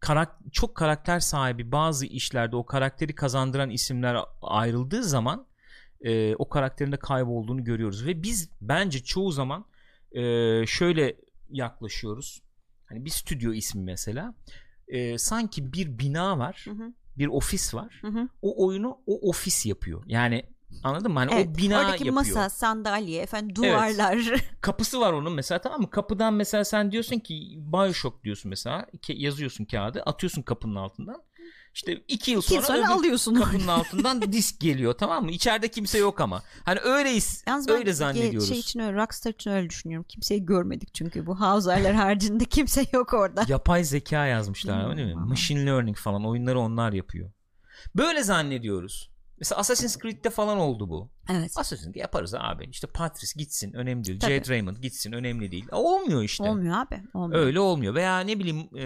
Speaker 1: karak- çok karakter sahibi bazı işlerde o karakteri kazandıran isimler a- ayrıldığı zaman e, o karakterin de kaybolduğunu görüyoruz ve biz bence çoğu zaman e, şöyle yaklaşıyoruz. Hani bir stüdyo ismi mesela E, sanki bir bina var,
Speaker 2: Hı hı,
Speaker 1: bir ofis var
Speaker 2: hı hı.
Speaker 1: o oyunu o ofis yapıyor. Yani anladın mı? Hani
Speaker 2: Evet,
Speaker 1: o bina
Speaker 2: Oradaki
Speaker 1: yapıyor.
Speaker 2: masa, sandalye, efendim duvarlar.
Speaker 1: Kapısı var onun mesela tamam mı? Kapıdan mesela sen diyorsun ki Bioshock diyorsun mesela. Ke- yazıyorsun kağıdı atıyorsun kapının altından. İşte iki yıl
Speaker 2: İki
Speaker 1: sonra,
Speaker 2: yıl sonra
Speaker 1: öbür
Speaker 2: alıyorsun onu.
Speaker 1: kapının altından disk geliyor tamam mı? İçeride kimse yok ama. Hani öyleyiz.
Speaker 2: Yalnız ben
Speaker 1: öyle
Speaker 2: ge-
Speaker 1: zannediyoruz.
Speaker 2: Şey için öyle, Rockstar için öyle düşünüyorum. Kimseyi görmedik çünkü bu Hauser'ler haricinde kimse yok orada.
Speaker 1: Yapay zeka yazmışlar
Speaker 2: Bilmiyorum
Speaker 1: değil mi?
Speaker 2: ama.
Speaker 1: Machine learning falan oyunları onlar yapıyor. Böyle zannediyoruz. Mesela Assassin's Creed'de falan oldu bu.
Speaker 2: Evet.
Speaker 1: Assassin's Creed yaparız abi. İşte Patrice gitsin önemli değil.
Speaker 2: Tabii.
Speaker 1: Jade Raymond gitsin önemli değil. E, Olmuyor işte.
Speaker 2: Olmuyor abi. Olmuyor.
Speaker 1: Öyle olmuyor. Veya ne bileyim e,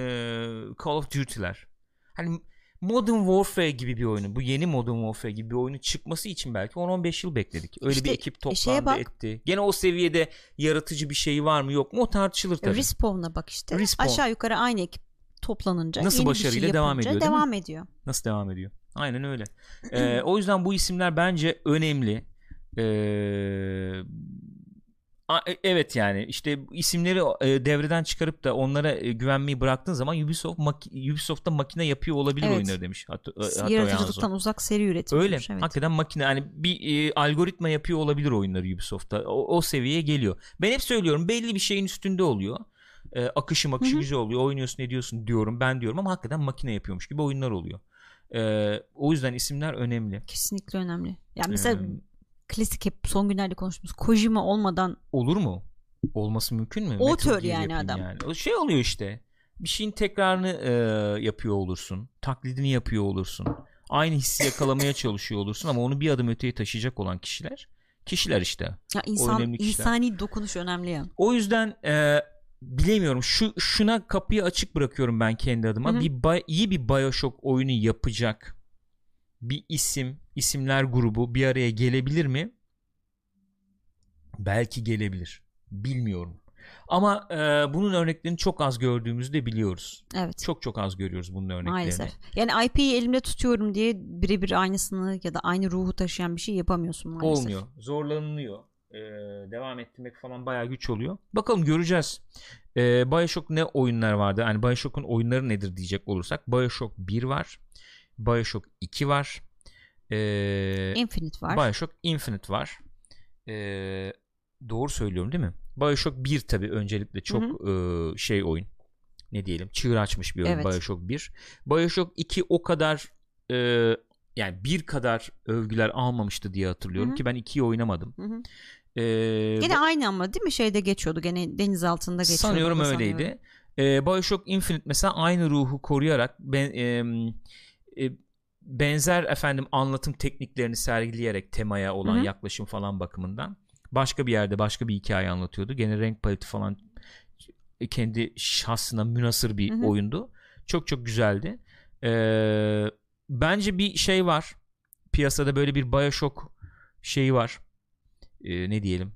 Speaker 1: Call of Duty'ler. Hani Modern Warfare gibi bir oyunu. Bu yeni Modern Warfare gibi bir oyunu çıkması için belki 10-15 yıl bekledik. Öyle
Speaker 2: İşte
Speaker 1: bir ekip
Speaker 2: şeye
Speaker 1: toplandı
Speaker 2: bak.
Speaker 1: etti. Gene o seviyede yaratıcı bir şey var mı yok mu o tartışılır tabii.
Speaker 2: E, Respawn'a bak işte.
Speaker 1: Respawn.
Speaker 2: Aşağı yukarı aynı ekip toplanınca
Speaker 1: Nasıl
Speaker 2: yeni bir
Speaker 1: başarıyla
Speaker 2: şey
Speaker 1: devam
Speaker 2: yapınca
Speaker 1: ediyor, değil mi?
Speaker 2: Devam ediyor.
Speaker 1: Nasıl devam ediyor? Aynen öyle. Ee, o yüzden bu isimler bence önemli. Ee, a- e- evet yani işte isimleri e, devreden çıkarıp da onlara e, güvenmeyi bıraktığın zaman Ubisoft maki- Ubisoft'ta makine yapıyor olabilir
Speaker 2: Evet.
Speaker 1: oyunları demiş. Hat- Hatoya Hanzo.
Speaker 2: Yaratıcılıktan uzak seri üretim.
Speaker 1: Öyle.
Speaker 2: olmuş, Evet.
Speaker 1: Hakikaten makine yani bir e, algoritma yapıyor olabilir oyunları Ubisoft'ta. O, o seviyeye geliyor. Ben hep söylüyorum belli bir şeyin üstünde oluyor. E, akışı makışı
Speaker 2: Hı hı.
Speaker 1: güzel oluyor. Oynuyorsun ediyorsun diyorum ben diyorum ama hakikaten makine yapıyormuş gibi oyunlar oluyor. E, o yüzden isimler önemli.
Speaker 2: Kesinlikle önemli. Yani mesela
Speaker 1: E,
Speaker 2: klasik hep son günlerde konuştuğumuz Kojima olmadan
Speaker 1: olur mu? Olması mümkün mü?
Speaker 2: Auteur
Speaker 1: Metal Gear
Speaker 2: yani
Speaker 1: yapayım
Speaker 2: adam.
Speaker 1: O şey oluyor işte. Bir şeyin tekrarını e, yapıyor olursun. Taklidini yapıyor olursun. Aynı hissi yakalamaya çalışıyor olursun ama onu bir adım öteye taşıyacak olan kişiler kişiler işte.
Speaker 2: ya insan
Speaker 1: önemli kişiler.
Speaker 2: insani dokunuş önemli ya.
Speaker 1: O yüzden e, bilemiyorum. Şu şuna kapıyı açık bırakıyorum ben kendi adıma.
Speaker 2: Hı hı.
Speaker 1: Bir bay- iyi bir BioShock oyunu yapacak bir isim, isimler grubu bir araya gelebilir mi? Belki gelebilir. Bilmiyorum. Ama e, bunun örneklerini çok az gördüğümüzü de biliyoruz.
Speaker 2: Evet.
Speaker 1: Çok çok az görüyoruz bunun örneklerini.
Speaker 2: Maalesef. Yani IP'yi elimde tutuyorum diye birebir aynısını ya da aynı ruhu taşıyan bir şey yapamıyorsun maalesef.
Speaker 1: Olmuyor. Zorlanılıyor. E, devam ettirmek falan bayağı güç oluyor. Bakalım göreceğiz. E, Bioshock ne oyunlar vardı? Yani Bioshock'un oyunları nedir diyecek olursak. Bioshock 1 var. Bioshock 2 var. E,
Speaker 2: Infinite var.
Speaker 1: Bioshock Infinite var. Ee, doğru söylüyorum değil mi? Bioshock 1 tabii öncelikle çok e, şey oyun. Ne diyelim? Çığır açmış bir oyun
Speaker 2: Evet.
Speaker 1: Bioshock 1. Bioshock 2 o kadar e, yani bir kadar övgüler almamıştı diye hatırlıyorum
Speaker 2: Hı hı.
Speaker 1: ki ben 2'yi oynamadım.
Speaker 2: Hı hı.
Speaker 1: Ee,
Speaker 2: Gene aynı ama değil mi? Şeyde geçiyordu. Gene deniz altında geçiyordu.
Speaker 1: Sanıyorum
Speaker 2: da
Speaker 1: öyleydi. Ee, Bioshock Infinite mesela aynı ruhu koruyarak ben, em, e, benzer efendim anlatım tekniklerini sergileyerek temaya olan
Speaker 2: Hı hı.
Speaker 1: yaklaşım falan bakımından başka bir yerde başka bir hikaye anlatıyordu. Gene renk paleti falan e, kendi şahsına münasır bir
Speaker 2: Hı hı.
Speaker 1: oyundu. Çok çok güzeldi. Ee, bence bir şey var. Piyasada böyle bir Bioshock şeyi var. Ee, ne diyelim?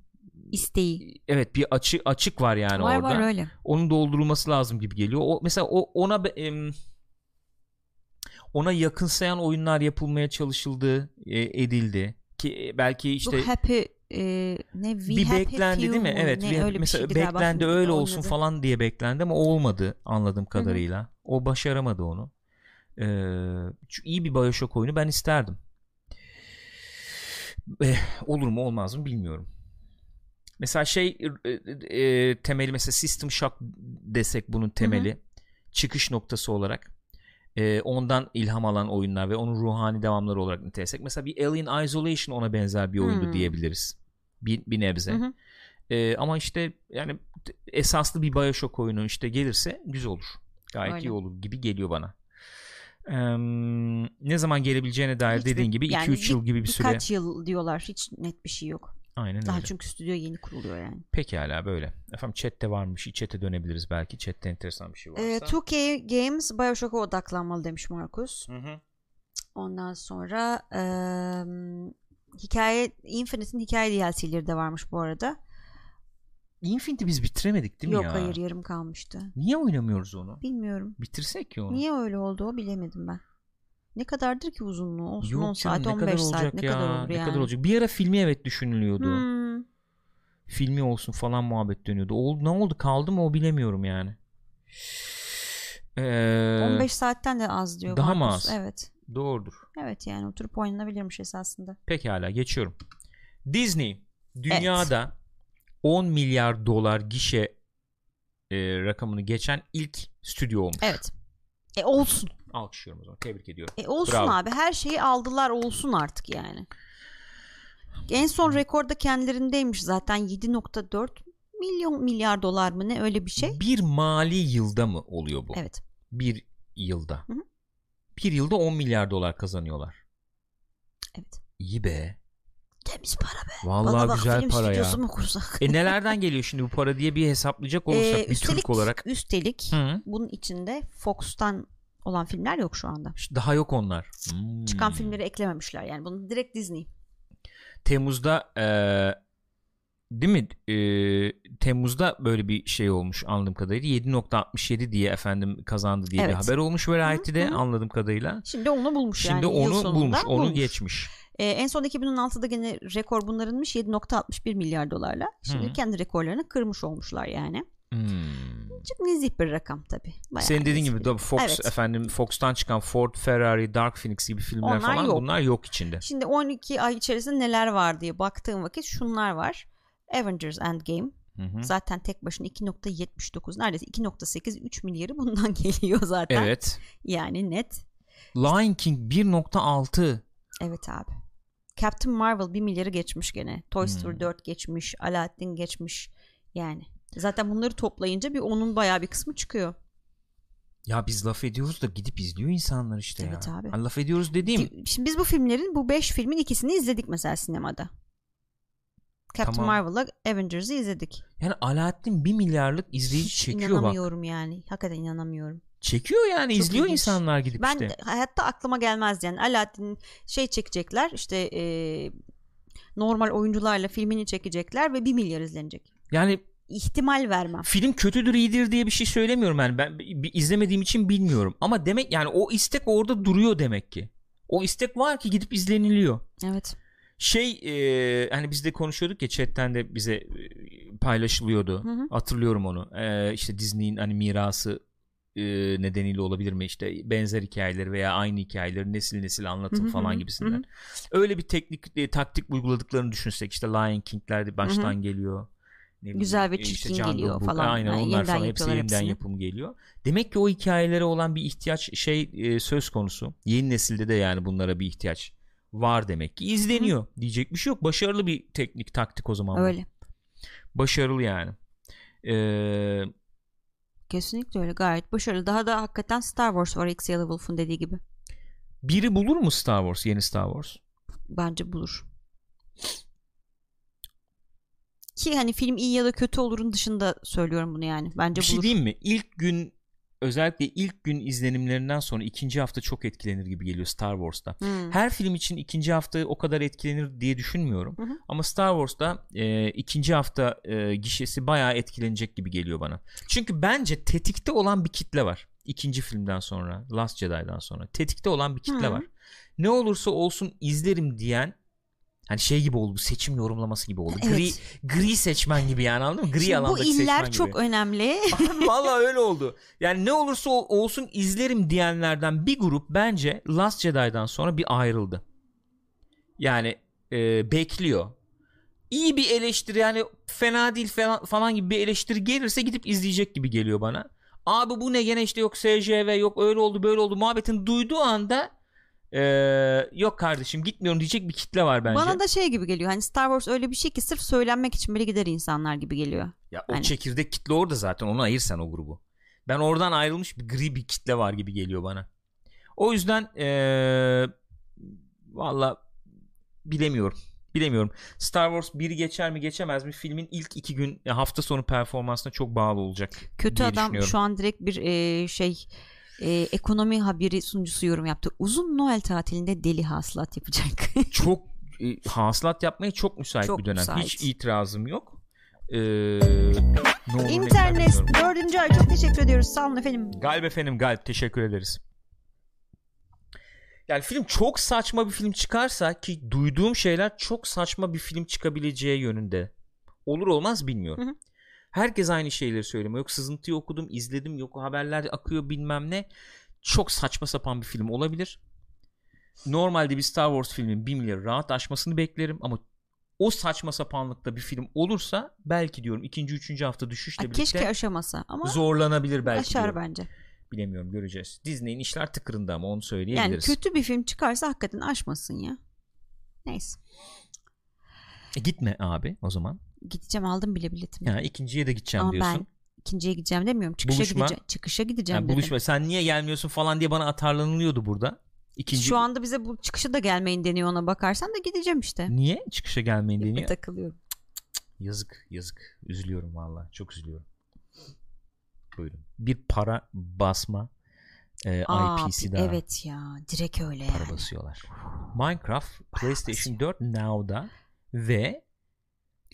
Speaker 2: İsteği.
Speaker 1: Evet bir açı, açık var yani
Speaker 2: var
Speaker 1: orada
Speaker 2: var öyle.
Speaker 1: onun doldurulması lazım gibi geliyor. O mesela o ona be- em, ona yakınsayan oyunlar yapılmaya çalışıldı, e, edildi ki e, belki işte
Speaker 2: Bu happy e, ne we
Speaker 1: bir
Speaker 2: happy
Speaker 1: beklendi
Speaker 2: few
Speaker 1: değil mi?
Speaker 2: mu?
Speaker 1: Evet,
Speaker 2: Ne,
Speaker 1: bir-
Speaker 2: öyle bir
Speaker 1: mesela
Speaker 2: şeydi galiba.
Speaker 1: beklendi
Speaker 2: Filmde
Speaker 1: öyle olsun
Speaker 2: oynadı.
Speaker 1: falan diye beklendi ama o olmadı anladığım kadarıyla. O başaramadı onu. Ee, şu iyi bir BioShock oyunu ben isterdim. Eh, olur mu olmaz mı bilmiyorum. Mesela şey e, e, temeli mesela System Shock desek bunun temeli çıkış noktası olarak e, ondan ilham alan oyunlar ve onun ruhani devamları olarak nitelesek mesela bir Alien Isolation ona benzer bir oyundu
Speaker 2: Hmm.
Speaker 1: diyebiliriz bir, bir nebze
Speaker 2: Hı hı.
Speaker 1: E, ama işte yani t- esaslı bir Bioshock oyunu işte gelirse güzel olur gayet
Speaker 2: Öyle.
Speaker 1: iyi olur gibi geliyor bana Em, ne zaman gelebileceğine dair
Speaker 2: Hiçbir-
Speaker 1: dediğin gibi 2-3
Speaker 2: yani
Speaker 1: yıl gibi bir süre
Speaker 2: Birkaç yıl diyorlar. Hiç net bir şey yok.
Speaker 1: aynen
Speaker 2: Daha
Speaker 1: öyle
Speaker 2: çünkü stüdyo yeni kuruluyor yani.
Speaker 1: pekala böyle efendim chatte varmış chatte dönebiliriz belki chatte enteresan bir şey varsa
Speaker 2: E, 2K Games Bioshock'a odaklanmalı demiş Markus.
Speaker 1: Hı hı.
Speaker 2: Ondan sonra e, hikaye Infinite'in hikaye DLC'leri de varmış bu arada.
Speaker 1: Infinity biz bitiremedik değil mi
Speaker 2: Yok
Speaker 1: ya?
Speaker 2: hayır yarım kalmıştı.
Speaker 1: Niye oynamıyoruz onu?
Speaker 2: Bilmiyorum.
Speaker 1: Bitirsek ya onu.
Speaker 2: Niye öyle oldu o bilemedim ben. Ne kadardır ki uzunluğu? Olsun
Speaker 1: Yok
Speaker 2: 10
Speaker 1: canım,
Speaker 2: saat 15 saat ne kadar olur
Speaker 1: Ne
Speaker 2: yani.
Speaker 1: kadar olacak? Bir ara filmi evet düşünülüyordu.
Speaker 2: Hmm.
Speaker 1: Filmi olsun falan muhabbet dönüyordu. Oldu, ne oldu kaldı mı o bilemiyorum yani. Ee,
Speaker 2: 15 saatten de az diyor.
Speaker 1: daha mı
Speaker 2: Markus.
Speaker 1: az?
Speaker 2: Evet.
Speaker 1: Doğrudur.
Speaker 2: Evet yani oturup oynanabilirmiş esasında.
Speaker 1: Pekala geçiyorum. Disney dünyada 10 milyar dolar gişe e, rakamını geçen ilk stüdyo olmuş.
Speaker 2: Evet. E olsun.
Speaker 1: Alkışlıyorum o zaman. Tebrik ediyorum.
Speaker 2: E olsun
Speaker 1: Bravo.
Speaker 2: abi. Her şeyi aldılar olsun artık yani. En son rekorda kendilerindeymiş zaten 7.4 milyon milyar dolar mı ne öyle bir şey.
Speaker 1: Bir mali yılda mı oluyor bu?
Speaker 2: Evet.
Speaker 1: bir yılda.
Speaker 2: Hı hı.
Speaker 1: Bir yılda 10 milyar dolar kazanıyorlar.
Speaker 2: Evet.
Speaker 1: İyi be.
Speaker 2: Temiz para be.
Speaker 1: Vallahi
Speaker 2: Bana bak
Speaker 1: güzel
Speaker 2: film
Speaker 1: para ya.
Speaker 2: stüdyosu mu kursak?
Speaker 1: E nelerden geliyor şimdi bu para diye bir hesaplayacak olursak
Speaker 2: Ee,
Speaker 1: bir Türk olarak.
Speaker 2: Üstelik
Speaker 1: Hı.
Speaker 2: bunun içinde Fox'tan olan filmler yok şu anda.
Speaker 1: İşte Daha yok onlar. Hmm.
Speaker 2: Çıkan filmleri eklememişler yani. Bunu direkt Disney.
Speaker 1: Temmuz'da e, değil mi? E, Temmuz'da böyle bir şey olmuş anladığım kadarıyla. 7.67 diye efendim kazandı diye bir
Speaker 2: Evet.
Speaker 1: haber olmuş Variety'de
Speaker 2: Hı hı.
Speaker 1: anladığım kadarıyla.
Speaker 2: Şimdi onu bulmuş yani.
Speaker 1: Şimdi
Speaker 2: yıl
Speaker 1: onu
Speaker 2: sonunda
Speaker 1: bulmuş, onu
Speaker 2: bulmuş.
Speaker 1: geçmiş.
Speaker 2: Ee, en son 2016'da gene rekor bunlarınmış 7.61 milyar dolarla. Şimdi
Speaker 1: Hı.
Speaker 2: kendi rekorlarını kırmış olmuşlar yani.
Speaker 1: Hmm.
Speaker 2: Çok nezih bir rakam tabii. Bayağı
Speaker 1: Senin dediğin
Speaker 2: nezih
Speaker 1: gibi
Speaker 2: bir-
Speaker 1: tabii Fox
Speaker 2: Evet.
Speaker 1: efendim Fox'tan çıkan Ford, Ferrari, Dark Phoenix gibi filmler
Speaker 2: Onlar
Speaker 1: falan
Speaker 2: yok.
Speaker 1: bunlar yok içinde.
Speaker 2: Şimdi 12 ay içerisinde neler var diye baktığım vakit şunlar var. Avengers Endgame
Speaker 1: Hı hı.
Speaker 2: zaten tek başına 2.79 neredeyse 2.8 3 milyarı bundan geliyor zaten.
Speaker 1: Evet.
Speaker 2: Yani net.
Speaker 1: Lion King 1.6
Speaker 2: Evet abi. Captain Marvel 1 milyarı geçmiş gene. Toy Story
Speaker 1: Hmm.
Speaker 2: 4 geçmiş. Aladdin geçmiş. Yani. Zaten bunları toplayınca bir onun bayağı bir kısmı çıkıyor.
Speaker 1: ya biz laf ediyoruz da gidip izliyor insanlar işte
Speaker 2: Evet
Speaker 1: ya.
Speaker 2: abi.
Speaker 1: Ha, laf ediyoruz dediğim
Speaker 2: Ki- Şimdi biz bu filmlerin bu 5 filmin ikisini izledik mesela sinemada. Captain
Speaker 1: Tamam.
Speaker 2: Marvel'la Avengers'ı izledik.
Speaker 1: yani Alaaddin 1 milyarlık izleyici
Speaker 2: Hiç
Speaker 1: çekiyor bak.
Speaker 2: inanamıyorum yani. Hakikaten inanamıyorum.
Speaker 1: Çekiyor yani
Speaker 2: Çok
Speaker 1: izliyor
Speaker 2: ilginç.
Speaker 1: insanlar gidip
Speaker 2: ben
Speaker 1: işte.
Speaker 2: de- hayatta aklıma gelmez yani. Aladdin şey çekecekler işte e, normal oyuncularla filmini çekecekler ve 1 milyar izlenecek.
Speaker 1: Yani
Speaker 2: ihtimal vermem.
Speaker 1: Film kötüdür iyidir diye bir şey söylemiyorum yani ben bi- izlemediğim için bilmiyorum ama demek yani o istek orada duruyor demek ki. O istek var ki gidip izleniliyor.
Speaker 2: Evet.
Speaker 1: Şey e, hani biz de konuşuyorduk ya chatten de bize e, paylaşılıyordu.
Speaker 2: Hı hı.
Speaker 1: Hatırlıyorum onu. E, işte Disney'in hani mirası e, nedeniyle olabilir mi? İşte benzer hikayeleri veya aynı hikayeleri nesil nesil anlatım
Speaker 2: Hı hı, hı
Speaker 1: falan
Speaker 2: hı,
Speaker 1: gibisinden.
Speaker 2: hı hı.
Speaker 1: Öyle bir teknik e, taktik uyguladıklarını düşünsek işte Lion King'ler baştan geliyor. Ne bileyim,
Speaker 2: Güzel ve
Speaker 1: e, işte
Speaker 2: çirkin
Speaker 1: Jungle
Speaker 2: geliyor
Speaker 1: Book.
Speaker 2: falan.
Speaker 1: Aynen
Speaker 2: Ha,
Speaker 1: onlar
Speaker 2: yeniden
Speaker 1: falan hepsi
Speaker 2: yapıyorlar
Speaker 1: yeniden
Speaker 2: hepsini.
Speaker 1: yapım geliyor. Demek ki o hikayelere olan bir ihtiyaç şey e, söz konusu. Yeni nesilde de yani bunlara bir ihtiyaç var demek ki. İzleniyor. Diyecek bir şey yok. Başarılı bir teknik taktik o zaman. bu.
Speaker 2: Öyle.
Speaker 1: Başarılı yani. Ee,
Speaker 2: Kesinlikle öyle. Gayet başarılı. Daha da hakikaten Star Wars var Xia Wolf'un dediği gibi.
Speaker 1: biri bulur mu Star Wars? Yeni Star Wars.
Speaker 2: Bence bulur. Ki hani film iyi ya da kötü olurun dışında söylüyorum bunu yani. Bence
Speaker 1: Bir şey
Speaker 2: bulur.
Speaker 1: diyeyim mi? İlk gün özellikle ilk gün izlenimlerinden sonra ikinci hafta çok etkilenir gibi geliyor Star Wars'ta.
Speaker 2: Hmm.
Speaker 1: Her film için ikinci hafta o kadar etkilenir diye düşünmüyorum.
Speaker 2: Hı hı.
Speaker 1: Ama Star Wars'ta e, ikinci hafta e, gişesi bayağı etkilenecek gibi geliyor bana. Çünkü bence tetikte olan bir kitle var. İkinci filmden sonra, Last Jedi'dan sonra tetikte olan bir kitle
Speaker 2: Hı.
Speaker 1: var. Ne olursa olsun izlerim diyen hani şey gibi oldu bu seçim yorumlaması gibi oldu. Gri
Speaker 2: Evet.
Speaker 1: gri seçmen gibi yani anladın mı? Gri
Speaker 2: Şimdi bu
Speaker 1: alandaki seçmen
Speaker 2: iller
Speaker 1: gibi.
Speaker 2: çok önemli.
Speaker 1: Abi Valla öyle oldu. Yani ne olursa ol- olsun izlerim diyenlerden bir grup bence Last Jedi'dan sonra bir ayrıldı. Yani e, bekliyor. İyi bir eleştiri yani fena değil falan, falan gibi bir eleştiri gelirse gidip izleyecek gibi geliyor bana. Abi bu ne gene işte yok SJV yok öyle oldu böyle oldu muhabbetin duyduğu anda e, yok kardeşim gitmiyorum diyecek bir kitle var bence.
Speaker 2: Bana da şey gibi geliyor. Hani Star Wars öyle bir şey ki sırf söylenmek için bile gider insanlar gibi geliyor.
Speaker 1: Ya o
Speaker 2: Aynen.
Speaker 1: çekirdek kitle orada zaten onu ayırsan o grubu. Ben oradan ayrılmış bir gri bir kitle var gibi geliyor bana. O yüzden eee valla bilemiyorum. Bilemiyorum. Star Wars 1'i geçer mi geçemez mi? Filmin ilk iki gün ya hafta sonu performansına çok bağlı olacak.
Speaker 2: Kötü
Speaker 1: diye
Speaker 2: adam
Speaker 1: düşünüyorum.
Speaker 2: şu an direkt bir e, şey e, ekonomi haberi sunucusu yorum yaptı. Uzun Noel tatilinde deli hasılat yapacak.
Speaker 1: çok e, hasılat yapmaya çok müsait
Speaker 2: Çok
Speaker 1: bir dönem.
Speaker 2: müsait.
Speaker 1: Hiç itirazım yok. Eee ne olur ne biter
Speaker 2: İnternet
Speaker 1: bilmiyorum.
Speaker 2: 4. ay çok teşekkür ediyoruz. Sağ olun efendim.
Speaker 1: Galip efendim Galip teşekkür ederiz. Yani film çok saçma bir film çıkarsa ki duyduğum şeyler çok saçma bir film çıkabileceği yönünde. Olur olmaz bilmiyorum.
Speaker 2: Hı hı.
Speaker 1: Herkes aynı şeyleri söylüyor. Yok sızıntıyı okudum, izledim, yok haberler akıyor bilmem ne. Çok saçma sapan bir film olabilir. Normalde bir Star Wars filmin 1 milyarı rahat aşmasını beklerim ama o saçma sapanlıkta bir film olursa belki diyorum ikinci üçüncü hafta düşüşle
Speaker 2: Ay,
Speaker 1: birlikte
Speaker 2: keşke aşamasa ama
Speaker 1: zorlanabilir belki.
Speaker 2: aşar
Speaker 1: diyorum
Speaker 2: bence.
Speaker 1: bilemiyorum göreceğiz. Disney'in işler tıkırında ama onu
Speaker 2: Yani
Speaker 1: söyleyebiliriz.
Speaker 2: kötü bir film çıkarsa hakikaten aşmasın ya. Neyse.
Speaker 1: E, gitme abi o zaman.
Speaker 2: Gideceğim aldım bile biletimi.
Speaker 1: Ya ikinciye de gideceğim
Speaker 2: Ama ben
Speaker 1: diyorsun.
Speaker 2: ikinciye gideceğim demiyorum. Çıkışa
Speaker 1: Buluşma.
Speaker 2: gideceğim. Çıkışa gideceğim
Speaker 1: Yani
Speaker 2: dedim.
Speaker 1: buluşma sen niye gelmiyorsun falan diye bana atarlanılıyordu burada. İkinci
Speaker 2: Şu anda bize bu çıkışa da gelmeyin deniyor ona bakarsan da gideceğim işte.
Speaker 1: niye çıkışa gelmeyin deniyor?
Speaker 2: Takılıyorum.
Speaker 1: Yazık yazık. Üzülüyorum valla. Çok üzülüyorum. Buyurun. Bir para basma e,
Speaker 2: Aa,
Speaker 1: IP'si
Speaker 2: bir-
Speaker 1: daha.
Speaker 2: Evet ya direkt öyle yani.
Speaker 1: Para basıyorlar. Minecraft PlayStation
Speaker 2: basıyor.
Speaker 1: 4 Now'da ve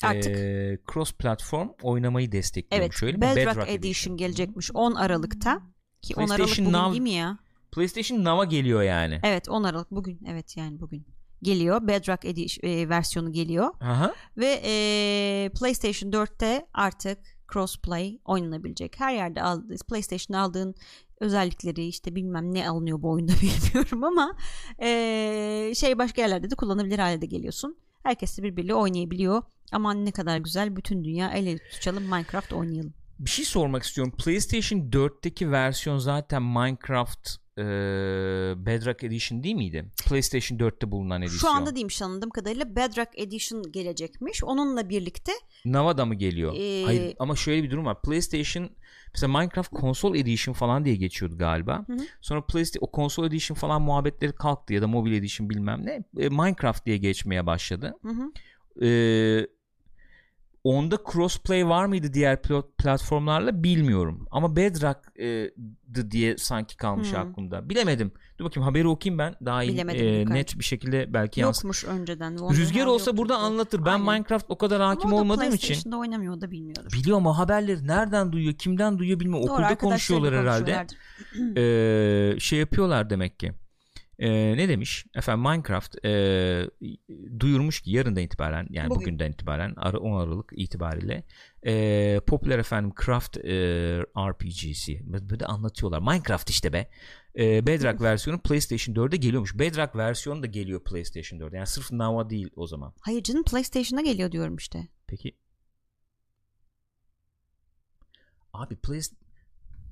Speaker 2: Artık
Speaker 1: e, cross platform oynamayı destekliyor.
Speaker 2: evet
Speaker 1: Şöyle
Speaker 2: Bedrock, Edition, gelecekmiş 10 Aralık'ta. Ki 10 Aralık
Speaker 1: PlayStation
Speaker 2: bugün
Speaker 1: Now-
Speaker 2: değil mi ya?
Speaker 1: PlayStation Now'a geliyor yani.
Speaker 2: Evet 10 Aralık bugün evet yani bugün geliyor. Bedrock Edition e, versiyonu geliyor.
Speaker 1: Aha.
Speaker 2: Ve e, PlayStation 4'te artık crossplay oynanabilecek. Her yerde aldığın PlayStation aldığın özellikleri işte bilmem ne alınıyor bu oyunda bilmiyorum ama e, şey başka yerlerde de kullanabilir hale de geliyorsun. Herkes de birbiriyle oynayabiliyor. Aman ne kadar güzel bütün dünya el ele tutuşalım Minecraft oynayalım.
Speaker 1: Bir şey sormak istiyorum. PlayStation 4'teki versiyon zaten Minecraft e, Bedrock Edition değil miydi? PlayStation 4'te bulunan edisyon.
Speaker 2: Şu anda değilmiş anladığım kadarıyla Bedrock Edition gelecekmiş. Onunla birlikte
Speaker 1: Nava'da mı geliyor?
Speaker 2: Ee,
Speaker 1: Hayır ama şöyle bir durum var. PlayStation mesela Minecraft Console Edition falan diye geçiyordu galiba.
Speaker 2: Hı hı.
Speaker 1: Sonra PlayStation o Console Edition falan muhabbetleri kalktı ya da Mobile Edition bilmem ne. E, Minecraft diye geçmeye başladı.
Speaker 2: Hı hı.
Speaker 1: Ee, Onda crossplay var mıydı diğer pl- platformlarla bilmiyorum. Ama Bedrock'dı diye sanki kalmış
Speaker 2: Hmm.
Speaker 1: aklımda. Bilemedim. Dur bakayım haberi okuyayım ben. Daha iyi
Speaker 2: Bilemedim
Speaker 1: e,
Speaker 2: Gökhan.
Speaker 1: net bir şekilde belki yansıtır.
Speaker 2: Yokmuş önceden.
Speaker 1: Rüzgar olsa burada
Speaker 2: anlatırım
Speaker 1: anlatır. Ben
Speaker 2: Aynen.
Speaker 1: Minecraft o kadar hakim olmadığım için.
Speaker 2: PlayStation'da oynamıyor o da bilmiyorum.
Speaker 1: Biliyor mu haberleri nereden duyuyor kimden duyuyor bilmiyorum.
Speaker 2: Doğru,
Speaker 1: Okulda
Speaker 2: arkadaşlarıyla
Speaker 1: konuşuyorlar herhalde.
Speaker 2: konuşuyorlardır.
Speaker 1: Ee, şey yapıyorlar demek ki. Ee, ne demiş? Efendim Minecraft ee, duyurmuş ki yarından itibaren yani
Speaker 2: Bugün.
Speaker 1: bugünden itibaren Ar- 10 Aralık itibariyle ee, popüler efendim Craft ee, RPG'si böyle anlatıyorlar. Minecraft işte be. Ee, Bedrock versiyonu PlayStation 4'e geliyormuş. Bedrock versiyonu da geliyor PlayStation 4'e. Yani sırf Nava değil o zaman.
Speaker 2: Hayır canım PlayStation'a geliyor diyorum işte.
Speaker 1: Peki. Abi Play...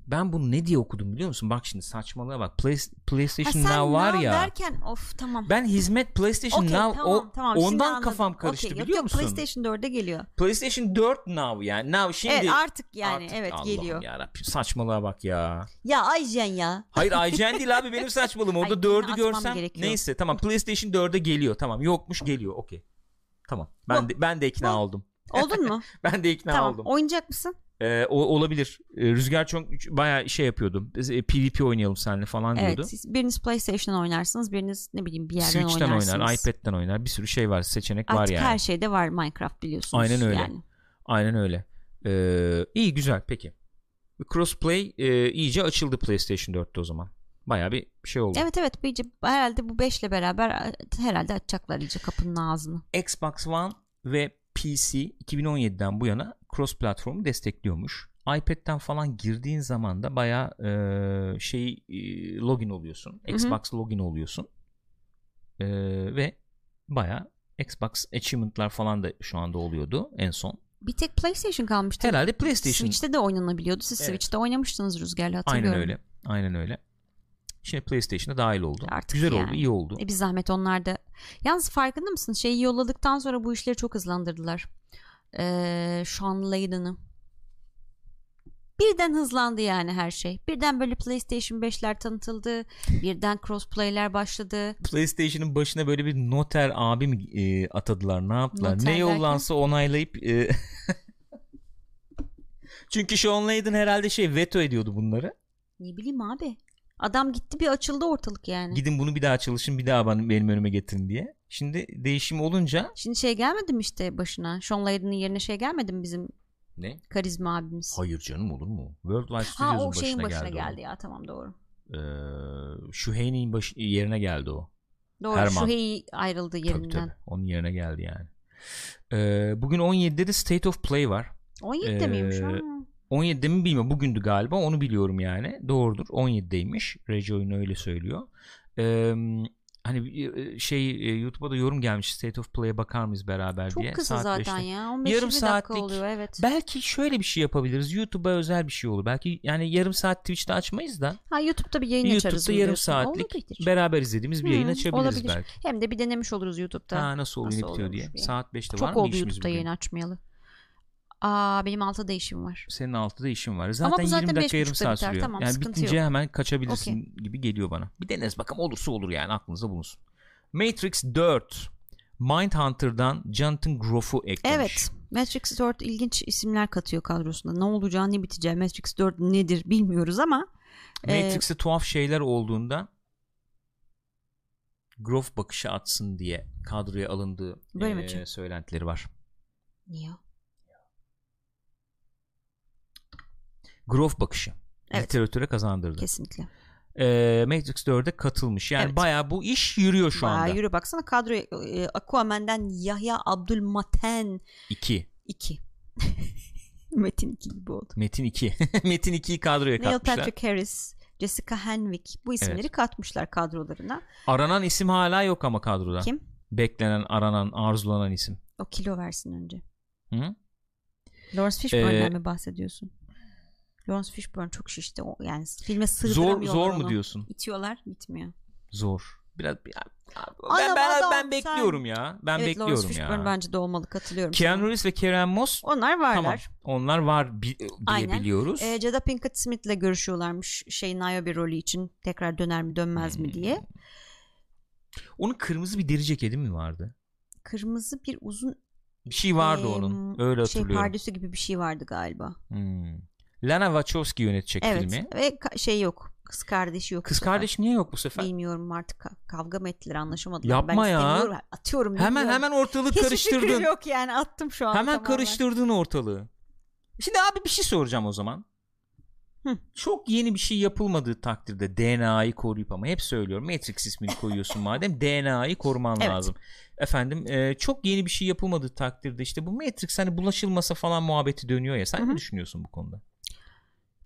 Speaker 1: Ben bunu ne diye okudum biliyor musun? Bak şimdi saçmalığa bak. Play...
Speaker 2: Ha,
Speaker 1: PlayStation
Speaker 2: sen
Speaker 1: Now var
Speaker 2: now
Speaker 1: ya.
Speaker 2: derken of tamam.
Speaker 1: Ben hizmet PlayStation
Speaker 2: Okey,
Speaker 1: Now
Speaker 2: tamam,
Speaker 1: o,
Speaker 2: tamam. Şimdi
Speaker 1: ondan
Speaker 2: anladım.
Speaker 1: kafam
Speaker 2: Okey,
Speaker 1: karıştı
Speaker 2: yok,
Speaker 1: biliyor
Speaker 2: yok,
Speaker 1: musun? PlayStation...
Speaker 2: PlayStation 4'e geliyor.
Speaker 1: 4 Now yani. Now şimdi.
Speaker 2: evet artık yani
Speaker 1: Artık
Speaker 2: evet
Speaker 1: Allah'ım
Speaker 2: geliyor. Ya,
Speaker 1: yarabbim, saçmalığa bak ya.
Speaker 2: Aycen ya.
Speaker 1: Hayır IGN değil abi benim saçmalığım.
Speaker 2: Ay,
Speaker 1: Orada
Speaker 2: yine
Speaker 1: 4'ü
Speaker 2: atmam
Speaker 1: görsem
Speaker 2: gerekiyor.
Speaker 1: neyse tamam PlayStation 4'e geliyor. Tamam yokmuş geliyor. Okey. Tamam. Ben
Speaker 2: Bu-
Speaker 1: de, ben de ikna
Speaker 2: bu-
Speaker 1: oldun.
Speaker 2: Oldun mu?
Speaker 1: Ben de ikna
Speaker 2: tamam.
Speaker 1: oldum.
Speaker 2: Oynayacak mısın?
Speaker 1: Ee, o olabilir. Ee, Rüzgar çok bayağı şey yapıyordu. Biz, e, PvP oynayalım seninle falan diyordu.
Speaker 2: Evet. siz- biriniz PlayStation'dan oynarsınız. Biriniz ne bileyim bir yerden
Speaker 1: Switch'ten
Speaker 2: oynarsınız.
Speaker 1: oynar, iPad'den oynar. Bir sürü şey var, seçenek var
Speaker 2: Artık
Speaker 1: yani.
Speaker 2: her şey- şeyde var Minecraft biliyorsunuz.
Speaker 1: Aynen öyle.
Speaker 2: Yani.
Speaker 1: Aynen öyle. Ee, iyi güzel peki. Crossplay e, iyice açıldı PlayStation 4'te o zaman. Bayağı bir şey oldu.
Speaker 2: Evet evet. iyice- herhalde bu 5'le beraber herhalde açacaklar iyice kapının ağzını.
Speaker 1: Xbox One ve PC 2017'den bu yana cross platformu destekliyormuş. iPad'den falan girdiğin zaman da bayağı e, şey e, login oluyorsun.
Speaker 2: hı.
Speaker 1: Xbox login oluyorsun. E, ve bayağı Xbox achievement'lar falan da şu anda oluyordu en son.
Speaker 2: Bir tek PlayStation kalmıştı.
Speaker 1: Herhalde PlayStation.
Speaker 2: Switch'te de oynanabiliyordu. Siz
Speaker 1: Evet.
Speaker 2: Switch'te oynamıştınız Rüzgar'la hatırlıyorum.
Speaker 1: Aynen öyle. Aynen öyle. Şimdi PlayStation'a dahil oldu.
Speaker 2: Artık
Speaker 1: Güzel oldu,
Speaker 2: yani.
Speaker 1: iyi oldu.
Speaker 2: E bir zahmet onlar da. Yalnız farkında mısın? Şeyi yolladıktan sonra bu işleri çok hızlandırdılar. Ee, Sean Layden'ı. Birden hızlandı yani her şey. Birden böyle PlayStation 5'ler tanıtıldı. Birden crossplay'ler başladı.
Speaker 1: PlayStation'ın başına böyle bir noter abi mi e, atadılar ne yaptılar?
Speaker 2: Noter
Speaker 1: ne yollansa onaylayıp e, Çünkü Sean Layden herhalde şey veto ediyordu bunları.
Speaker 2: Ne bileyim abi. Adam gitti bir açıldı ortalık yani.
Speaker 1: Gidin bunu bir daha çalışın bir daha bana, benim önüme getirin diye. Şimdi değişim olunca
Speaker 2: Şimdi şey gelmedi mi işte başına? Sean Layden'ın yerine şey gelmedi mi bizim
Speaker 1: ne?
Speaker 2: karizma abimiz?
Speaker 1: Hayır canım olur mu? Worldwide
Speaker 2: Ha
Speaker 1: Studios'un
Speaker 2: o şeyin
Speaker 1: başına,
Speaker 2: başına,
Speaker 1: geldi.
Speaker 2: geldi
Speaker 1: o.
Speaker 2: ya tamam doğru.
Speaker 1: Ee, şu Haney'in baş- yerine geldi o.
Speaker 2: Doğru
Speaker 1: Herman.
Speaker 2: Şuhey ayrıldı
Speaker 1: Tabii
Speaker 2: yerinden.
Speaker 1: tabii. Onun yerine geldi yani. Ee, bugün 17'de de State of Play var.
Speaker 2: 17'de miymiş?
Speaker 1: Ee,
Speaker 2: Ha.
Speaker 1: 17'de mi bilmiyorum. Bugündü galiba. Onu biliyorum yani. Doğrudur. 17'deymiş. Reji oyunu öyle söylüyor. Ee, hani e, şey e, YouTube'a da yorum gelmiş. State of Play'e bakar mıyız beraber
Speaker 2: Çok
Speaker 1: diye.
Speaker 2: kısa
Speaker 1: Saat
Speaker 2: zaten
Speaker 1: beşte.
Speaker 2: ya. 15
Speaker 1: Yarım
Speaker 2: 20 dakika
Speaker 1: saatlik-
Speaker 2: oluyor evet.
Speaker 1: Belki şöyle bir şey yapabiliriz. YouTube'a özel bir şey olur. Belki yani yarım saat Twitch'te açmayız da
Speaker 2: Ha YouTube'da bir yayın açarız.
Speaker 1: YouTube'da
Speaker 2: mı
Speaker 1: yarım
Speaker 2: diyorsun?
Speaker 1: saatlik
Speaker 2: Olabilir.
Speaker 1: beraber izlediğimiz bir yayın
Speaker 2: Hmm,
Speaker 1: açabiliriz
Speaker 2: olabilir.
Speaker 1: belki.
Speaker 2: Hem de bir denemiş oluruz YouTube'da.
Speaker 1: Ha, nasıl oluyor
Speaker 2: Nasıl
Speaker 1: ne bitiyor diye.
Speaker 2: oluyormuş diye.
Speaker 1: Saat 5'te var
Speaker 2: Çok
Speaker 1: mı
Speaker 2: oldu
Speaker 1: işimiz
Speaker 2: YouTube'da
Speaker 1: bugün?
Speaker 2: yayın açmayalı. Aa benim altıda da işim var.
Speaker 1: Senin 6'da işin var. Zaten,
Speaker 2: bu
Speaker 1: 20
Speaker 2: zaten
Speaker 1: dakika
Speaker 2: beş
Speaker 1: yarım
Speaker 2: buçukta
Speaker 1: saat
Speaker 2: biter.
Speaker 1: sürüyor.
Speaker 2: Tamam,
Speaker 1: yani
Speaker 2: sıkıntı
Speaker 1: bitince hemen kaçabilirsin gibi geliyor bana. Bir deneriz bakalım olursa olur yani aklınızda bulunsun. Matrix 4 Mindhunter'dan Jonathan Groff'u eklemiş.
Speaker 2: Evet. Matrix 4 ilginç isimler katıyor kadrosunda. Ne olacağı ne biteceği Matrix 4 nedir bilmiyoruz ama e,
Speaker 1: Matrix'e tuhaf şeyler olduğunda Groff bakışı atsın diye kadroya alındığı
Speaker 2: Böyle mi
Speaker 1: eee,
Speaker 2: için?
Speaker 1: söylentileri var.
Speaker 2: Niye?
Speaker 1: Groff bakışı.
Speaker 2: Evet.
Speaker 1: Literatüre kazandırdı.
Speaker 2: Kesinlikle.
Speaker 1: Eee, Matrix 4'e katılmış. Yani
Speaker 2: Evet.
Speaker 1: bayağı bu iş yürüyor şu
Speaker 2: Bayağı
Speaker 1: anda.
Speaker 2: yürü baksana kadro e, Aquaman'den Yahya Abdülmaten
Speaker 1: 2.
Speaker 2: 2. Metin 2 gibi oldu.
Speaker 1: Metin 2. Metin 2'yi kadroya
Speaker 2: Neil
Speaker 1: katmışlar.
Speaker 2: Patrick Harris, Jessica Henwick bu isimleri
Speaker 1: Evet.
Speaker 2: katmışlar kadrolarına.
Speaker 1: Aranan isim hala yok ama kadroda.
Speaker 2: Kim?
Speaker 1: Beklenen, aranan, arzulanan isim.
Speaker 2: O kilo versin önce.
Speaker 1: Hı?
Speaker 2: Lawrence Fishburne'den
Speaker 1: Ee,
Speaker 2: mi bahsediyorsun? Lawrence Fishburne çok şişti. O, yani filme
Speaker 1: Zor
Speaker 2: sığdıramıyorlar
Speaker 1: zor
Speaker 2: onu.
Speaker 1: mu diyorsun?
Speaker 2: İtiyorlar gitmiyor.
Speaker 1: Zor. Biraz ya-
Speaker 2: Adam,
Speaker 1: ben ben,
Speaker 2: adam,
Speaker 1: ben
Speaker 2: sen-
Speaker 1: bekliyorum ya. Ben
Speaker 2: evet
Speaker 1: bekliyorum
Speaker 2: Lawrence Fishburne
Speaker 1: ya.
Speaker 2: bence de olmalı katılıyorum.
Speaker 1: Keanu
Speaker 2: sana.
Speaker 1: Reeves ve Kerem Moss
Speaker 2: Onlar
Speaker 1: tamam.
Speaker 2: varlar.
Speaker 1: Onlar var bi- diye
Speaker 2: Aynen.
Speaker 1: biliyoruz.
Speaker 2: Ee, Jada Pinkett Smith'le görüşüyorlarmış şey Niobe rolü için tekrar döner mi dönmez mi
Speaker 1: Hmm.
Speaker 2: diye.
Speaker 1: Onun kırmızı bir deri ceketi mi vardı?
Speaker 2: Kırmızı bir uzun
Speaker 1: Bir şey vardı
Speaker 2: Ee,
Speaker 1: onun. Öyle
Speaker 2: şey
Speaker 1: hatırlıyorum.
Speaker 2: pardüsü gibi bir şey vardı galiba.
Speaker 1: Hmm. Lana Wachowski yönetecek
Speaker 2: evet
Speaker 1: filmi.
Speaker 2: ve ka- şey yok. Kız kardeşi yok. bu
Speaker 1: Kız
Speaker 2: sefer.
Speaker 1: kardeşi niye yok bu sefer?
Speaker 2: Bilmiyorum artık ka- kavga mı ettiler anlaşamadılar.
Speaker 1: Yapma
Speaker 2: ben
Speaker 1: ya.
Speaker 2: istemiyorum. Atıyorum.
Speaker 1: Hemen
Speaker 2: bilmiyorum.
Speaker 1: hemen ortalığı
Speaker 2: Hiçbir fikrim
Speaker 1: karıştırdın.
Speaker 2: yok yani attım şu an.
Speaker 1: Hemen
Speaker 2: tamamen.
Speaker 1: karıştırdın ortalığı. Şimdi abi bir şey soracağım o zaman.
Speaker 2: Hı.
Speaker 1: Çok yeni bir şey yapılmadığı takdirde DNA'yı koruyup ama hep söylüyorum Matrix ismini koyuyorsun madem DNA'yı koruman
Speaker 2: Evet.
Speaker 1: lazım. Efendim e, çok yeni bir şey yapılmadığı takdirde işte bu Matrix hani bulaşılmasa falan muhabbeti dönüyor ya. Sen
Speaker 2: Hı
Speaker 1: ne
Speaker 2: hı.
Speaker 1: düşünüyorsun bu konuda?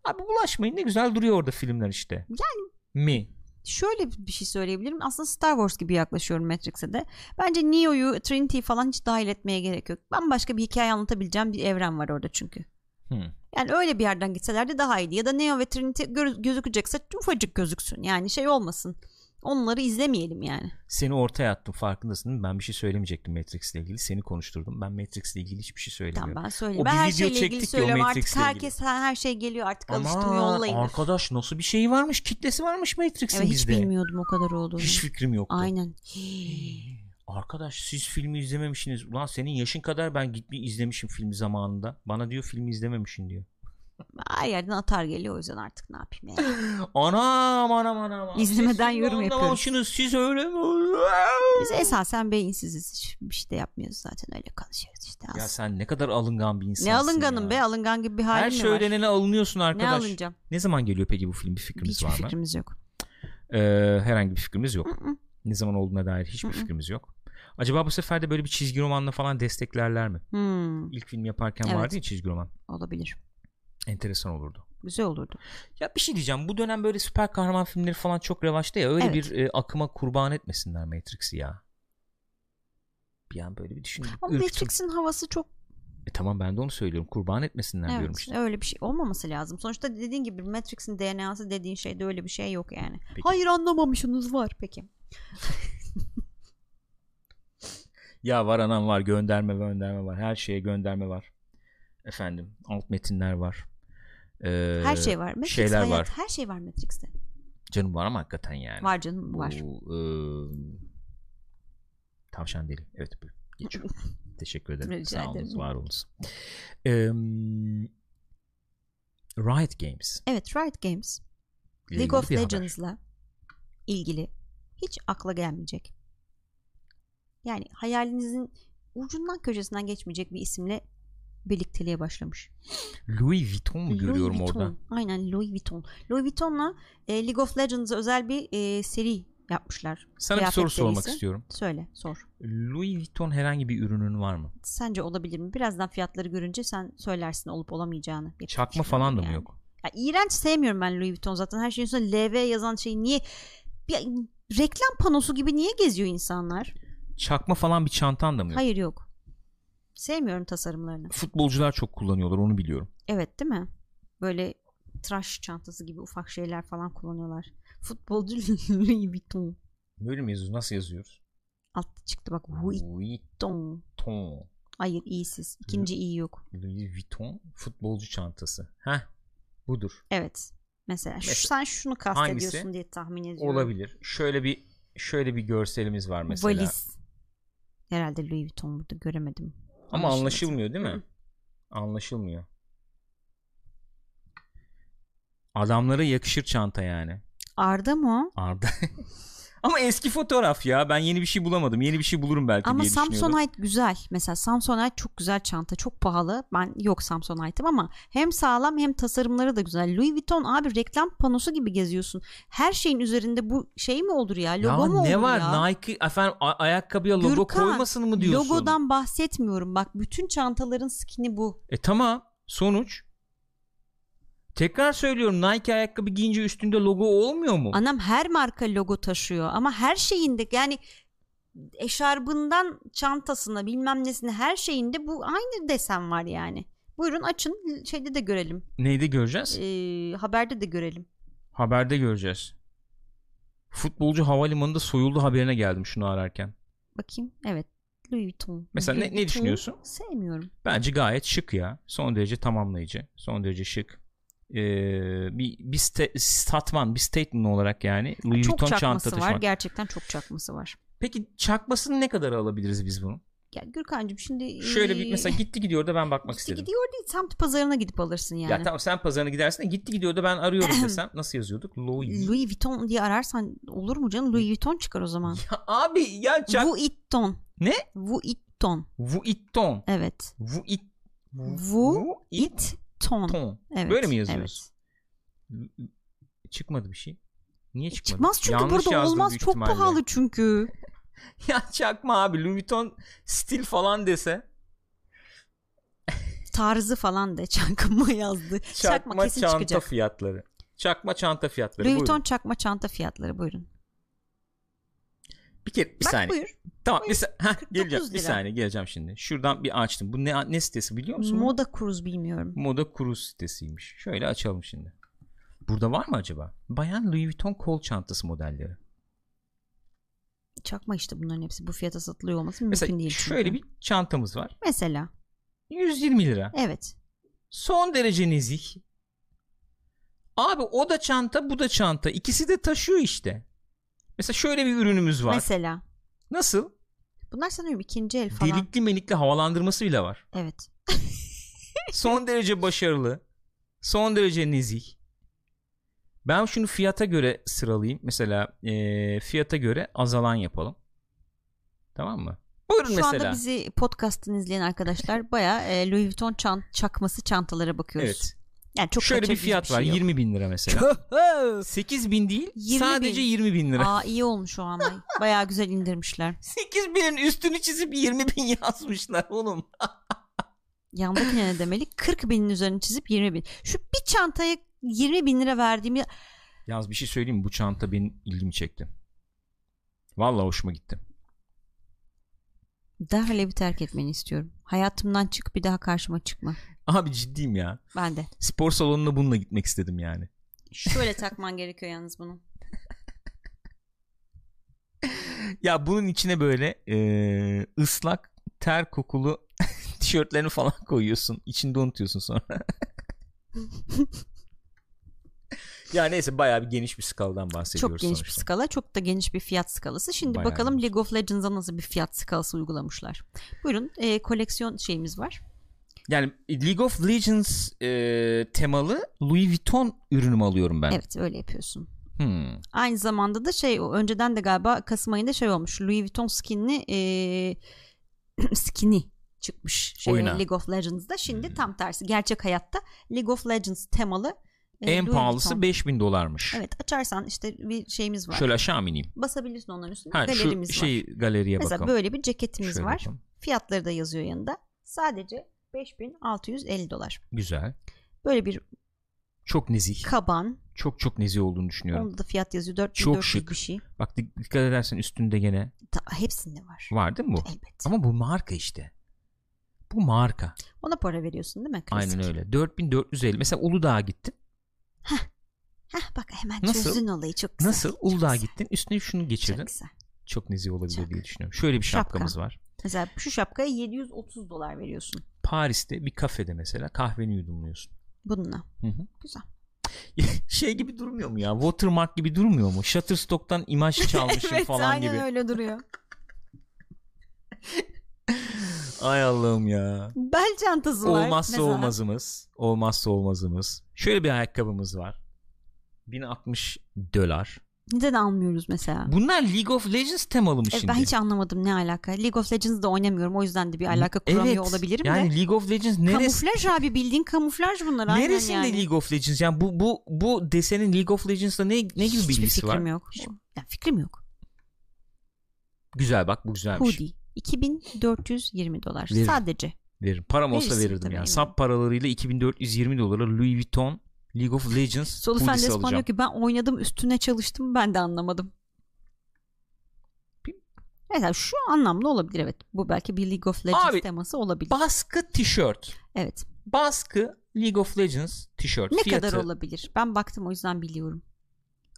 Speaker 1: Abi bulaşmayın ne güzel duruyor orada filmler işte. Yani. Mi?
Speaker 2: Şöyle bir şey söyleyebilirim. Aslında Star Wars gibi yaklaşıyorum Matrix'e de. Bence Neo'yu, Trinity'yi falan hiç dahil etmeye gerek yok. Bambaşka bir hikaye anlatabileceğim bir evren var orada çünkü.
Speaker 1: Hı.
Speaker 2: Yani öyle bir yerden gitselerdi daha iyiydi. Ya da Neo ve Trinity gör- gözükecekse ufacık gözüksün. Yani şey olmasın. Onları izlemeyelim yani.
Speaker 1: Seni ortaya attım farkındasın değil mi? Ben bir şey söylemeyecektim Matrix ile ilgili. Seni konuşturdum. Ben Matrix ile ilgili hiçbir şey söylemiyorum.
Speaker 2: Tamam ben söyleyeyim.
Speaker 1: O
Speaker 2: ben
Speaker 1: bir
Speaker 2: her
Speaker 1: video
Speaker 2: şeyle
Speaker 1: çektik
Speaker 2: ilgili
Speaker 1: ya, o
Speaker 2: söylüyorum artık.
Speaker 1: Matrix'le
Speaker 2: Herkes her şey geliyor artık alıştım
Speaker 1: Aman,
Speaker 2: yollayın.
Speaker 1: arkadaş nasıl bir şey varmış kitlesi varmış Matrix'in
Speaker 2: Evet, hiç
Speaker 1: bizde.
Speaker 2: bilmiyordum o kadar olduğunu.
Speaker 1: Hiç fikrim yoktu.
Speaker 2: Aynen.
Speaker 1: Arkadaş siz filmi izlememişsiniz. Ulan senin yaşın kadar ben gitmiş izlemişim filmi zamanında. Bana diyor filmi izlememişsin diyor.
Speaker 2: Her yerden atar geliyor o yüzden artık ne yapayım yani.
Speaker 1: Anam anam anam.
Speaker 2: İzlemeden
Speaker 1: Siz
Speaker 2: yorum
Speaker 1: bunu
Speaker 2: yapıyoruz.
Speaker 1: anlamamışsınız, Siz öyle mi?
Speaker 2: Biz esasen beyinsiziz. Hiç bir şey de yapmıyoruz zaten öyle konuşuyoruz işte.
Speaker 1: Ya
Speaker 2: aslında.
Speaker 1: sen ne kadar alıngan bir insansın
Speaker 2: ne alınganım
Speaker 1: ya.
Speaker 2: be alıngan gibi bir halim
Speaker 1: Her
Speaker 2: mi
Speaker 1: şey
Speaker 2: var?
Speaker 1: öğrenene alınıyorsun
Speaker 2: Ne
Speaker 1: arkadaş. Ne,
Speaker 2: alınacağım?
Speaker 1: zaman geliyor peki bu film bir fikrimiz
Speaker 2: Hiçbir
Speaker 1: var mı?
Speaker 2: fikrimiz yok.
Speaker 1: Ee, herhangi bir fikrimiz yok.
Speaker 2: Hı hı.
Speaker 1: Ne zaman olduğuna dair hiçbir
Speaker 2: Hı hı.
Speaker 1: fikrimiz yok. Acaba bu sefer de böyle bir çizgi romanla falan desteklerler mi?
Speaker 2: Hmm,
Speaker 1: İlk film yaparken
Speaker 2: Evet.
Speaker 1: vardı ya çizgi roman.
Speaker 2: olabilir.
Speaker 1: Enteresan olurdu.
Speaker 2: Güzel olurdu.
Speaker 1: Ya bir şey diyeceğim. Bu dönem böyle süper kahraman filmleri falan çok revaçta ya. Öyle
Speaker 2: Evet.
Speaker 1: bir e, akıma kurban etmesinler Matrix'i ya. Bir an böyle bir düşündüm.
Speaker 2: Ama
Speaker 1: Ürktüm.
Speaker 2: Matrix'in havası çok
Speaker 1: E, tamam ben de onu söylüyorum. Kurban etmesinler
Speaker 2: evet,
Speaker 1: diyorum işte.
Speaker 2: öyle bir şey olmaması lazım. Sonuçta dediğin gibi Matrix'in DNA'sı dediğin şeyde öyle bir şey yok yani.
Speaker 1: Peki.
Speaker 2: Hayır anlamamışsınız var peki.
Speaker 1: Ya var anam var. Gönderme gönderme var. Her şeye gönderme var. Efendim alt metinler var. Ee,
Speaker 2: Her şey var. Matrix
Speaker 1: şeyler
Speaker 2: hayat,
Speaker 1: var.
Speaker 2: her şey var Matrix'te.
Speaker 1: Canım var ama hakikaten yani.
Speaker 2: Var canım var.
Speaker 1: Bu, e, tavşan deli. Evet buyurun. Geçiyorum. Teşekkür ederim.
Speaker 2: Rica
Speaker 1: Sağ olunuz,
Speaker 2: ederim.
Speaker 1: var olunuz. Em, Riot Games.
Speaker 2: Evet Riot Games
Speaker 1: ile
Speaker 2: League of
Speaker 1: ilgili bir haber.
Speaker 2: Legends'la ilgili hiç akla gelmeyecek. Yani hayalinizin ucundan köşesinden geçmeyecek bir isimle birlikteliğe başlamış.
Speaker 1: Louis Vuitton mu görüyorum
Speaker 2: Vuitton.
Speaker 1: orada?
Speaker 2: Aynen Louis Vuitton. Louis Vuitton'la e, League of Legends'a özel bir e, seri yapmışlar.
Speaker 1: Sana bir
Speaker 2: Kıyafet
Speaker 1: soru sormak
Speaker 2: serisi.
Speaker 1: istiyorum.
Speaker 2: Söyle sor.
Speaker 1: Louis Vuitton herhangi bir ürünün var mı?
Speaker 2: Sence olabilir mi? Birazdan fiyatları görünce sen söylersin olup olamayacağını. Bir
Speaker 1: Çakma
Speaker 2: düşünüyorum
Speaker 1: falan da mı
Speaker 2: yani.
Speaker 1: yok?
Speaker 2: Ya, iğrenç sevmiyorum ben Louis Vuitton zaten. Her şeyin üstüne LV yazan şeyi niye... Bir, reklam panosu gibi niye geziyor insanlar?
Speaker 1: Çakma falan bir çantan da mı yok?
Speaker 2: Hayır yok. Sevmiyorum tasarımlarını.
Speaker 1: Futbolcular çok kullanıyorlar onu biliyorum.
Speaker 2: Evet değil mi? Böyle tıraş çantası gibi ufak şeyler falan kullanıyorlar. Futbolcu Louis Vuitton.
Speaker 1: Böyle mi yazıyoruz? Nasıl yazıyoruz?
Speaker 2: Altta çıktı bak
Speaker 1: Louis
Speaker 2: Vuitton.
Speaker 1: Vuitton.
Speaker 2: Hayır iyisiz. İkinci iyi yok.
Speaker 1: Louis Vuitton futbolcu çantası. Heh. Budur.
Speaker 2: Evet. Mesela, şu-
Speaker 1: Mesela.
Speaker 2: sen şunu kastediyorsun
Speaker 1: Hangisi?
Speaker 2: diye tahmin ediyorum.
Speaker 1: Olabilir. Şöyle bir şöyle bir görselimiz var mesela.
Speaker 2: Valiz. Herhalde Louis Vuitton burada göremedim.
Speaker 1: Ama
Speaker 2: Anlaşılmadı.
Speaker 1: anlaşılmıyor değil mi?
Speaker 2: Hı.
Speaker 1: Anlaşılmıyor. Adamlara yakışır çanta yani.
Speaker 2: Arda mı? o?
Speaker 1: Arda. Ama eski fotoğraf ya. Ben yeni bir şey bulamadım. Yeni bir şey bulurum belki
Speaker 2: Ama
Speaker 1: diye düşünüyorum.
Speaker 2: Samsonite güzel. Mesela Samsonite çok güzel çanta. Çok pahalı. Ben yok Samsonite'ım ama hem sağlam hem tasarımları da güzel. Louis Vuitton abi reklam panosu gibi geziyorsun. Her şeyin üzerinde bu şey mi olur ya? Logo mu
Speaker 1: ya
Speaker 2: olur
Speaker 1: ne var?
Speaker 2: ya?
Speaker 1: Nike efendim a- ayakkabıya logo
Speaker 2: Gürkan,
Speaker 1: koymasın mı diyorsun?
Speaker 2: Logodan bahsetmiyorum. Bak bütün çantaların skini bu.
Speaker 1: E tamam. Sonuç. Tekrar söylüyorum Nike ayakkabı giyince üstünde logo olmuyor mu?
Speaker 2: Anam her marka logo taşıyor ama her şeyinde yani eşarbından çantasına bilmem nesine her şeyinde bu aynı desen var yani. Buyurun açın şeyde de görelim.
Speaker 1: Neyde göreceğiz?
Speaker 2: Ee, haberde de görelim.
Speaker 1: Haberde göreceğiz. Futbolcu havalimanında soyuldu haberine geldim şunu ararken.
Speaker 2: Bakayım. Evet. Louis Vuitton.
Speaker 1: Mesela
Speaker 2: Louis
Speaker 1: ne- ne
Speaker 2: Vuitton.
Speaker 1: düşünüyorsun?
Speaker 2: Sevmiyorum.
Speaker 1: Bence gayet şık ya. Son derece tamamlayıcı. Son derece şık. Ee, bir bir sta- statman, bir statement olarak yani Louis
Speaker 2: çok
Speaker 1: Vuitton
Speaker 2: çakması
Speaker 1: çanta
Speaker 2: var.
Speaker 1: taşımak.
Speaker 2: Gerçekten çok çakması var.
Speaker 1: Peki çakmasını ne kadar alabiliriz biz bunun?
Speaker 2: Ya Gürkan'cığım şimdi
Speaker 1: Şöyle bir
Speaker 2: eee,
Speaker 1: mesela gitti gidiyor da ben bakmak
Speaker 2: işte
Speaker 1: istedim.
Speaker 2: gidiyor değil semt pazarına gidip alırsın yani.
Speaker 1: Ya tamam sen pazarına gidersin de gitti gidiyor da ben arıyorum desem nasıl yazıyorduk? Louis.
Speaker 2: Louis Vuitton diye ararsan olur mu canım? Louis Vuitton çıkar o zaman.
Speaker 1: Ya abi ya çak.
Speaker 2: Vuitton.
Speaker 1: Ne?
Speaker 2: Vuitton.
Speaker 1: Vuitton.
Speaker 2: Evet.
Speaker 1: Vuit.
Speaker 2: Vu-
Speaker 1: Vuitton.
Speaker 2: Itton. Evet.
Speaker 1: Böyle mi
Speaker 2: Evet.
Speaker 1: yazıyoruz? Çıkmadı bir şey. Niye
Speaker 2: E,
Speaker 1: çıkmadı?
Speaker 2: Çıkmaz çünkü
Speaker 1: Yanlış
Speaker 2: burada
Speaker 1: yazdım
Speaker 2: olmaz.
Speaker 1: büyük
Speaker 2: Çok
Speaker 1: ihtimalle.
Speaker 2: pahalı çünkü.
Speaker 1: Ya çakma abi Louis Vuitton stil falan dese.
Speaker 2: Tarzı falan de çakma yazdı. Çakma,
Speaker 1: Çakma,
Speaker 2: kesin
Speaker 1: çanta
Speaker 2: çıkacak.
Speaker 1: fiyatları. Çakma çanta fiyatları.
Speaker 2: Louis Vuitton
Speaker 1: Buyurun.
Speaker 2: çakma çanta fiyatları buyurun.
Speaker 1: Bir kere bir
Speaker 2: Bak
Speaker 1: saniye.
Speaker 2: buyur.
Speaker 1: Tamam bir, sa- Heh,
Speaker 2: 49
Speaker 1: geleceğim. Bir
Speaker 2: lira.
Speaker 1: saniye geleceğim şimdi. Şuradan bir açtım. Bu ne, ne sitesi biliyor musun?
Speaker 2: Moda Cruise bilmiyorum.
Speaker 1: Moda Cruise sitesiymiş. Şöyle açalım şimdi. Burada var mı acaba? Bayan Louis Vuitton kol çantası modelleri.
Speaker 2: Çakma işte bunların hepsi bu fiyata satılıyor olması mümkün
Speaker 1: Mesela
Speaker 2: değil. çünkü.
Speaker 1: şöyle bir çantamız var.
Speaker 2: Mesela
Speaker 1: 120 lira.
Speaker 2: evet.
Speaker 1: Son derece nezih. Abi o da çanta bu da çanta. İkisi de taşıyor işte. Mesela şöyle bir ürünümüz var.
Speaker 2: Mesela.
Speaker 1: Nasıl?
Speaker 2: Bunlar sanıyorum ikinci el falan.
Speaker 1: Delikli melikli havalandırması bile var.
Speaker 2: Evet.
Speaker 1: Son derece başarılı. Son derece nezih. Ben şunu fiyata göre sıralayayım. Mesela eee, fiyata göre azalan yapalım. Tamam mı? Buyurun
Speaker 2: Şu
Speaker 1: mesela.
Speaker 2: anda bizi podcast'ın izleyen arkadaşlar bayağı e, Louis Vuitton çan- çakması çantalara bakıyoruz.
Speaker 1: Evet.
Speaker 2: Yani çok
Speaker 1: Şöyle bir
Speaker 2: kaçırıcı
Speaker 1: fiyat
Speaker 2: şey
Speaker 1: var.
Speaker 2: yok.
Speaker 1: 20 bin lira mesela. 8 bin değil
Speaker 2: 20
Speaker 1: sadece
Speaker 2: bin.
Speaker 1: 20 bin lira.
Speaker 2: Aa iyi olmuş o ama. Bayağı güzel indirmişler.
Speaker 1: 8 binin üstünü çizip 20 bin yazmışlar oğlum.
Speaker 2: Yandakine ne demeli? 40 binin üzerine çizip 20 bin. Şu bir çantaya 20 bin lira verdiğim ya-
Speaker 1: Yalnız bir şey söyleyeyim mi? Bu çanta benim ilgimi çekti. Vallahi hoşuma gitti.
Speaker 2: derhal evi terk etmeni istiyorum. Hayatımdan çık bir daha karşıma çıkma.
Speaker 1: Abi ciddiyim ya.
Speaker 2: Ben de.
Speaker 1: Spor salonuna bununla gitmek istedim yani.
Speaker 2: Şöyle takman gerekiyor yalnız bunu.
Speaker 1: Ya bunun içine böyle eee, ıslak ter kokulu tişörtlerini falan koyuyorsun. İçinde unutuyorsun sonra. ya neyse bayağı bir geniş bir skaldan bahsediyoruz
Speaker 2: Çok geniş bir
Speaker 1: sonuçta.
Speaker 2: skala. Çok da geniş bir fiyat skalası. Şimdi
Speaker 1: Bayağı
Speaker 2: bakalım
Speaker 1: geniş.
Speaker 2: League of Legends'a nasıl bir fiyat skalası uygulamışlar. Buyurun e, koleksiyon şeyimiz var.
Speaker 1: Yani League of Legends eee, temalı Louis Vuitton ürünümü alıyorum ben.
Speaker 2: Evet öyle yapıyorsun.
Speaker 1: Hmm.
Speaker 2: Aynı zamanda da şey o önceden de galiba Kasım ayında şey olmuş. Louis Vuitton skinli e, skini çıkmış şey,
Speaker 1: Oyuna. Hmm.
Speaker 2: League of Legends'da. Şimdi tam tersi gerçek hayatta League of Legends temalı e,
Speaker 1: en
Speaker 2: Louis
Speaker 1: pahalısı
Speaker 2: Vuitton.
Speaker 1: 5000 dolarmış.
Speaker 2: Evet açarsan işte bir şeyimiz var.
Speaker 1: Şöyle aşağı mı ineyim?
Speaker 2: Basabilirsin onların üstüne.
Speaker 1: Ha, şu
Speaker 2: Galerimiz var.
Speaker 1: şey galeriye
Speaker 2: Mesela
Speaker 1: bakalım.
Speaker 2: böyle bir ceketimiz
Speaker 1: Şöyle
Speaker 2: var.
Speaker 1: bakalım.
Speaker 2: Fiyatları da yazıyor yanında. Sadece 5650 dolar.
Speaker 1: Güzel.
Speaker 2: Böyle bir
Speaker 1: Çok nezih.
Speaker 2: kaban.
Speaker 1: Çok çok nezih olduğunu düşünüyorum.
Speaker 2: Onda da fiyat yazıyor
Speaker 1: Çok
Speaker 2: 4400
Speaker 1: şık.
Speaker 2: bir şey.
Speaker 1: Bak dik- dikkat edersen üstünde gene
Speaker 2: Ta- hepsinde var.
Speaker 1: var değil mi bu?
Speaker 2: Elbet.
Speaker 1: Ama bu marka işte. Bu marka.
Speaker 2: Ona para veriyorsun değil mi? Klasik.
Speaker 1: Aynen öyle. 4450. Mesela Uludağ'a gittin.
Speaker 2: Hah bak hemen
Speaker 1: Nasıl?
Speaker 2: çözdün olayı çok güzel.
Speaker 1: Nasıl?
Speaker 2: Çok
Speaker 1: Uludağ'a
Speaker 2: güzel,
Speaker 1: gittin. Üstüne şunu geçirdin.
Speaker 2: Çok
Speaker 1: Çok,
Speaker 2: güzel.
Speaker 1: nezih olabilir
Speaker 2: Çok.
Speaker 1: diye düşünüyorum. Şöyle bir
Speaker 2: Şapka.
Speaker 1: şapkamız var.
Speaker 2: Mesela şu şapkaya 730 dolar veriyorsun
Speaker 1: Paris'te bir kafede mesela kahveni yudumluyorsun.
Speaker 2: bununla.
Speaker 1: Hı hı.
Speaker 2: Güzel.
Speaker 1: şey gibi durmuyor mu ya? Watermark gibi durmuyor mu? Shutterstock'tan imaj çalmışım falan gibi.
Speaker 2: öyle duruyor.
Speaker 1: Ay Allah'ım ya.
Speaker 2: Bel çantası var.
Speaker 1: Olmazsa
Speaker 2: mesela.
Speaker 1: olmazımız. Olmazsa olmazımız. Şöyle bir ayakkabımız var. 1060 dolar.
Speaker 2: Neden almıyoruz mesela?
Speaker 1: Bunlar League of Legends temalı mı
Speaker 2: E,
Speaker 1: şimdi?
Speaker 2: ben hiç anlamadım ne alaka. League of Legends'da oynamıyorum o yüzden de bir alaka kuramıyor
Speaker 1: evet.
Speaker 2: olabilirim de.
Speaker 1: yani League of Legends neresi?
Speaker 2: Kamuflaj abi bildiğin kamuflaj bunlar. aynen
Speaker 1: Neresinde
Speaker 2: yani.
Speaker 1: League of Legends? Yani bu bu bu desenin League of Legends'la ne ne gibi
Speaker 2: Hiçbir
Speaker 1: bilgisi var?
Speaker 2: fikrim yok. Ya fikrim yok.
Speaker 1: Güzel bak bu güzelmiş.
Speaker 2: Hoodie 2420 dolar
Speaker 1: Veririm.
Speaker 2: sadece.
Speaker 1: Veririm. Param olsa
Speaker 2: Verirsin
Speaker 1: verirdim
Speaker 2: tabii,
Speaker 1: yani.
Speaker 2: eminim.
Speaker 1: Sap paralarıyla 2420 dolara Louis Vuitton League of Legends
Speaker 2: Solufen
Speaker 1: hoodie'si
Speaker 2: Despan diyor
Speaker 1: alacağım.
Speaker 2: ki ben oynadım üstüne çalıştım ben de anlamadım.
Speaker 1: Bir-
Speaker 2: Mesela şu anlamda olabilir evet. Bu belki bir League of Legends
Speaker 1: Abi,
Speaker 2: teması olabilir.
Speaker 1: Baskı tişört.
Speaker 2: evet.
Speaker 1: Baskı League of Legends tişört.
Speaker 2: Ne
Speaker 1: Fiyatı
Speaker 2: kadar olabilir? Ben baktım o yüzden biliyorum.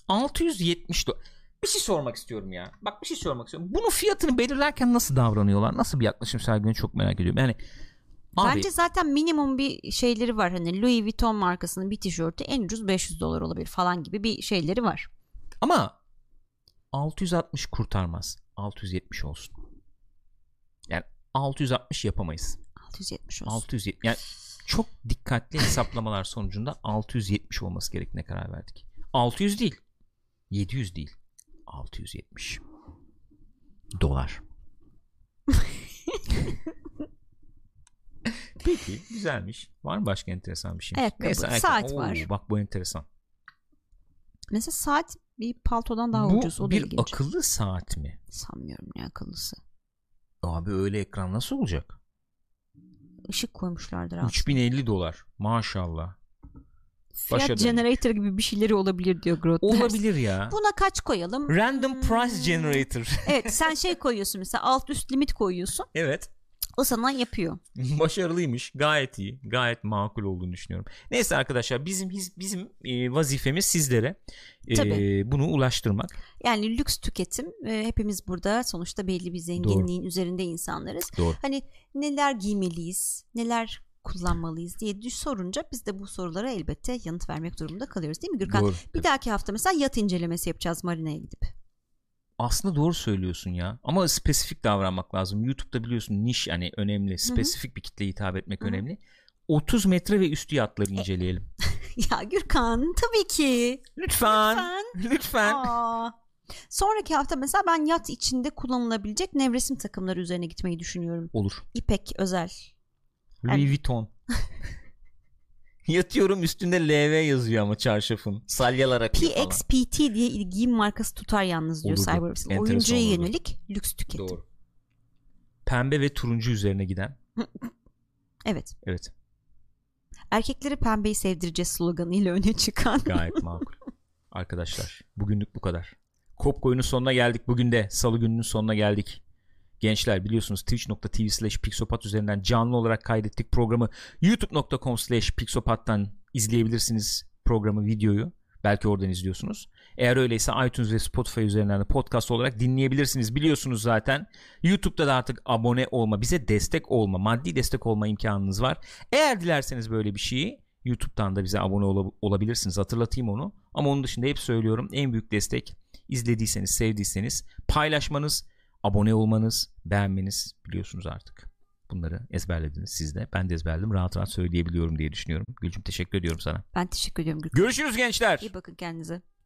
Speaker 1: 670 dolar. Bir şey sormak istiyorum ya. Bak bir şey sormak istiyorum. Bunun fiyatını belirlerken nasıl davranıyorlar? Nasıl bir yaklaşım sergileniyor çok merak ediyorum. Yani abi
Speaker 2: Bence zaten minimum bir şeyleri var. Hani Louis Vuitton markasının bir tişörtü en ucuz 500 dolar olabilir falan gibi bir şeyleri var.
Speaker 1: ama 660 kurtarmaz. 670 olsun. Yani 660 yapamayız.
Speaker 2: 670 olsun.
Speaker 1: 670 yani çok dikkatli hesaplamalar sonucunda 670 olması gerektiğine karar verdik. 600 değil. 700 değil. 670 dolar. Peki güzelmiş. Var mı başka enteresan bir şey?
Speaker 2: Evet, kabul. Saat var.
Speaker 1: Bak bu enteresan.
Speaker 2: Mesela saat bir paltodan daha
Speaker 1: bu
Speaker 2: ucuz. O da
Speaker 1: bir
Speaker 2: ilginç.
Speaker 1: akıllı saat mi?
Speaker 2: Sanmıyorum ne akıllısı.
Speaker 1: Abi öyle ekran nasıl olacak?
Speaker 2: Işık koymuşlardır abi.
Speaker 1: 3050 dolar. Maşallah.
Speaker 2: Fiyat
Speaker 1: başa döndük.
Speaker 2: generator gibi bir şeyleri olabilir diyor Grotberg.
Speaker 1: Olabilir ya.
Speaker 2: Buna kaç koyalım?
Speaker 1: Random price generator.
Speaker 2: evet sen şey koyuyorsun mesela alt üst limit koyuyorsun.
Speaker 1: evet.
Speaker 2: O sana yapıyor.
Speaker 1: Başarılıymış. Gayet iyi. Gayet makul olduğunu düşünüyorum. Neyse arkadaşlar bizim his- bizim e, vazifemiz sizlere e,
Speaker 2: Tabii.
Speaker 1: bunu ulaştırmak.
Speaker 2: Yani lüks tüketim e, hepimiz burada sonuçta belli bir zenginliğin üzerinde insanlarız.
Speaker 1: Doğru.
Speaker 2: Hani neler giymeliyiz, neler kullanmalıyız diye düş sorunca biz de bu sorulara elbette yanıt vermek durumunda kalıyoruz değil mi Gürkan?
Speaker 1: Doğru.
Speaker 2: Bir dahaki hafta mesela yat incelemesi yapacağız marinaya gidip.
Speaker 1: Aslında doğru söylüyorsun ya. Ama spesifik davranmak lazım. YouTube'da biliyorsun niş yani önemli. Spesifik bir kitleye hitap etmek
Speaker 2: Hı hı.
Speaker 1: önemli. 30 metre ve üstü yatları inceleyelim.
Speaker 2: ya Gürkan tabii ki.
Speaker 1: Lütfen.
Speaker 2: Sen-
Speaker 1: Lütfen.
Speaker 2: Aa. Sonraki hafta mesela ben yat içinde kullanılabilecek nevresim takımları üzerine gitmeyi düşünüyorum.
Speaker 1: Olur.
Speaker 2: İpek özel. Yani-
Speaker 1: Louis Vuitton. Yatıyorum üstünde LV yazıyor ama çarşafın. Salyalar akıyor falan.
Speaker 2: PXPT diye il- giyim markası tutar yalnız diyor
Speaker 1: Olurdu.
Speaker 2: Cyberpunk.
Speaker 1: Enteresan
Speaker 2: Oyuncuya
Speaker 1: olurdu.
Speaker 2: yönelik lüks tüketim.
Speaker 1: Doğru. Pembe ve turuncu üzerine giden.
Speaker 2: Evet.
Speaker 1: Evet.
Speaker 2: Erkeklere pembeyi sevdireceğiz sloganıyla öne çıkan.
Speaker 1: Gayet makul. Arkadaşlar bugünlük bu kadar. Kop koyunun sonuna geldik bugün de. Salı gününün sonuna geldik. Gençler biliyorsunuz twitch.tv slash pixopat üzerinden canlı olarak kaydettik programı. youtube.com slash pixopat'tan izleyebilirsiniz programı, videoyu. Belki oradan izliyorsunuz. Eğer öyleyse iTunes ve Spotify üzerinden de podcast olarak dinleyebilirsiniz. Biliyorsunuz zaten. YouTube'da da artık abone olma, bize destek olma, maddi destek olma imkanınız var. Eğer dilerseniz böyle bir şeyi YouTube'dan da bize abone ola- olabilirsiniz. Hatırlatayım onu. Ama onun dışında hep söylüyorum en büyük destek izlediyseniz, sevdiyseniz paylaşmanız, abone olmanız, beğenmeniz biliyorsunuz artık. Bunları ezberlediniz siz de. Ben de ezberledim. Rahat rahat söyleyebiliyorum diye düşünüyorum. Gülcüm teşekkür ediyorum sana.
Speaker 2: Ben teşekkür ediyorum Gürkan.
Speaker 1: Görüşürüz gençler.
Speaker 2: İyi bakın kendinize.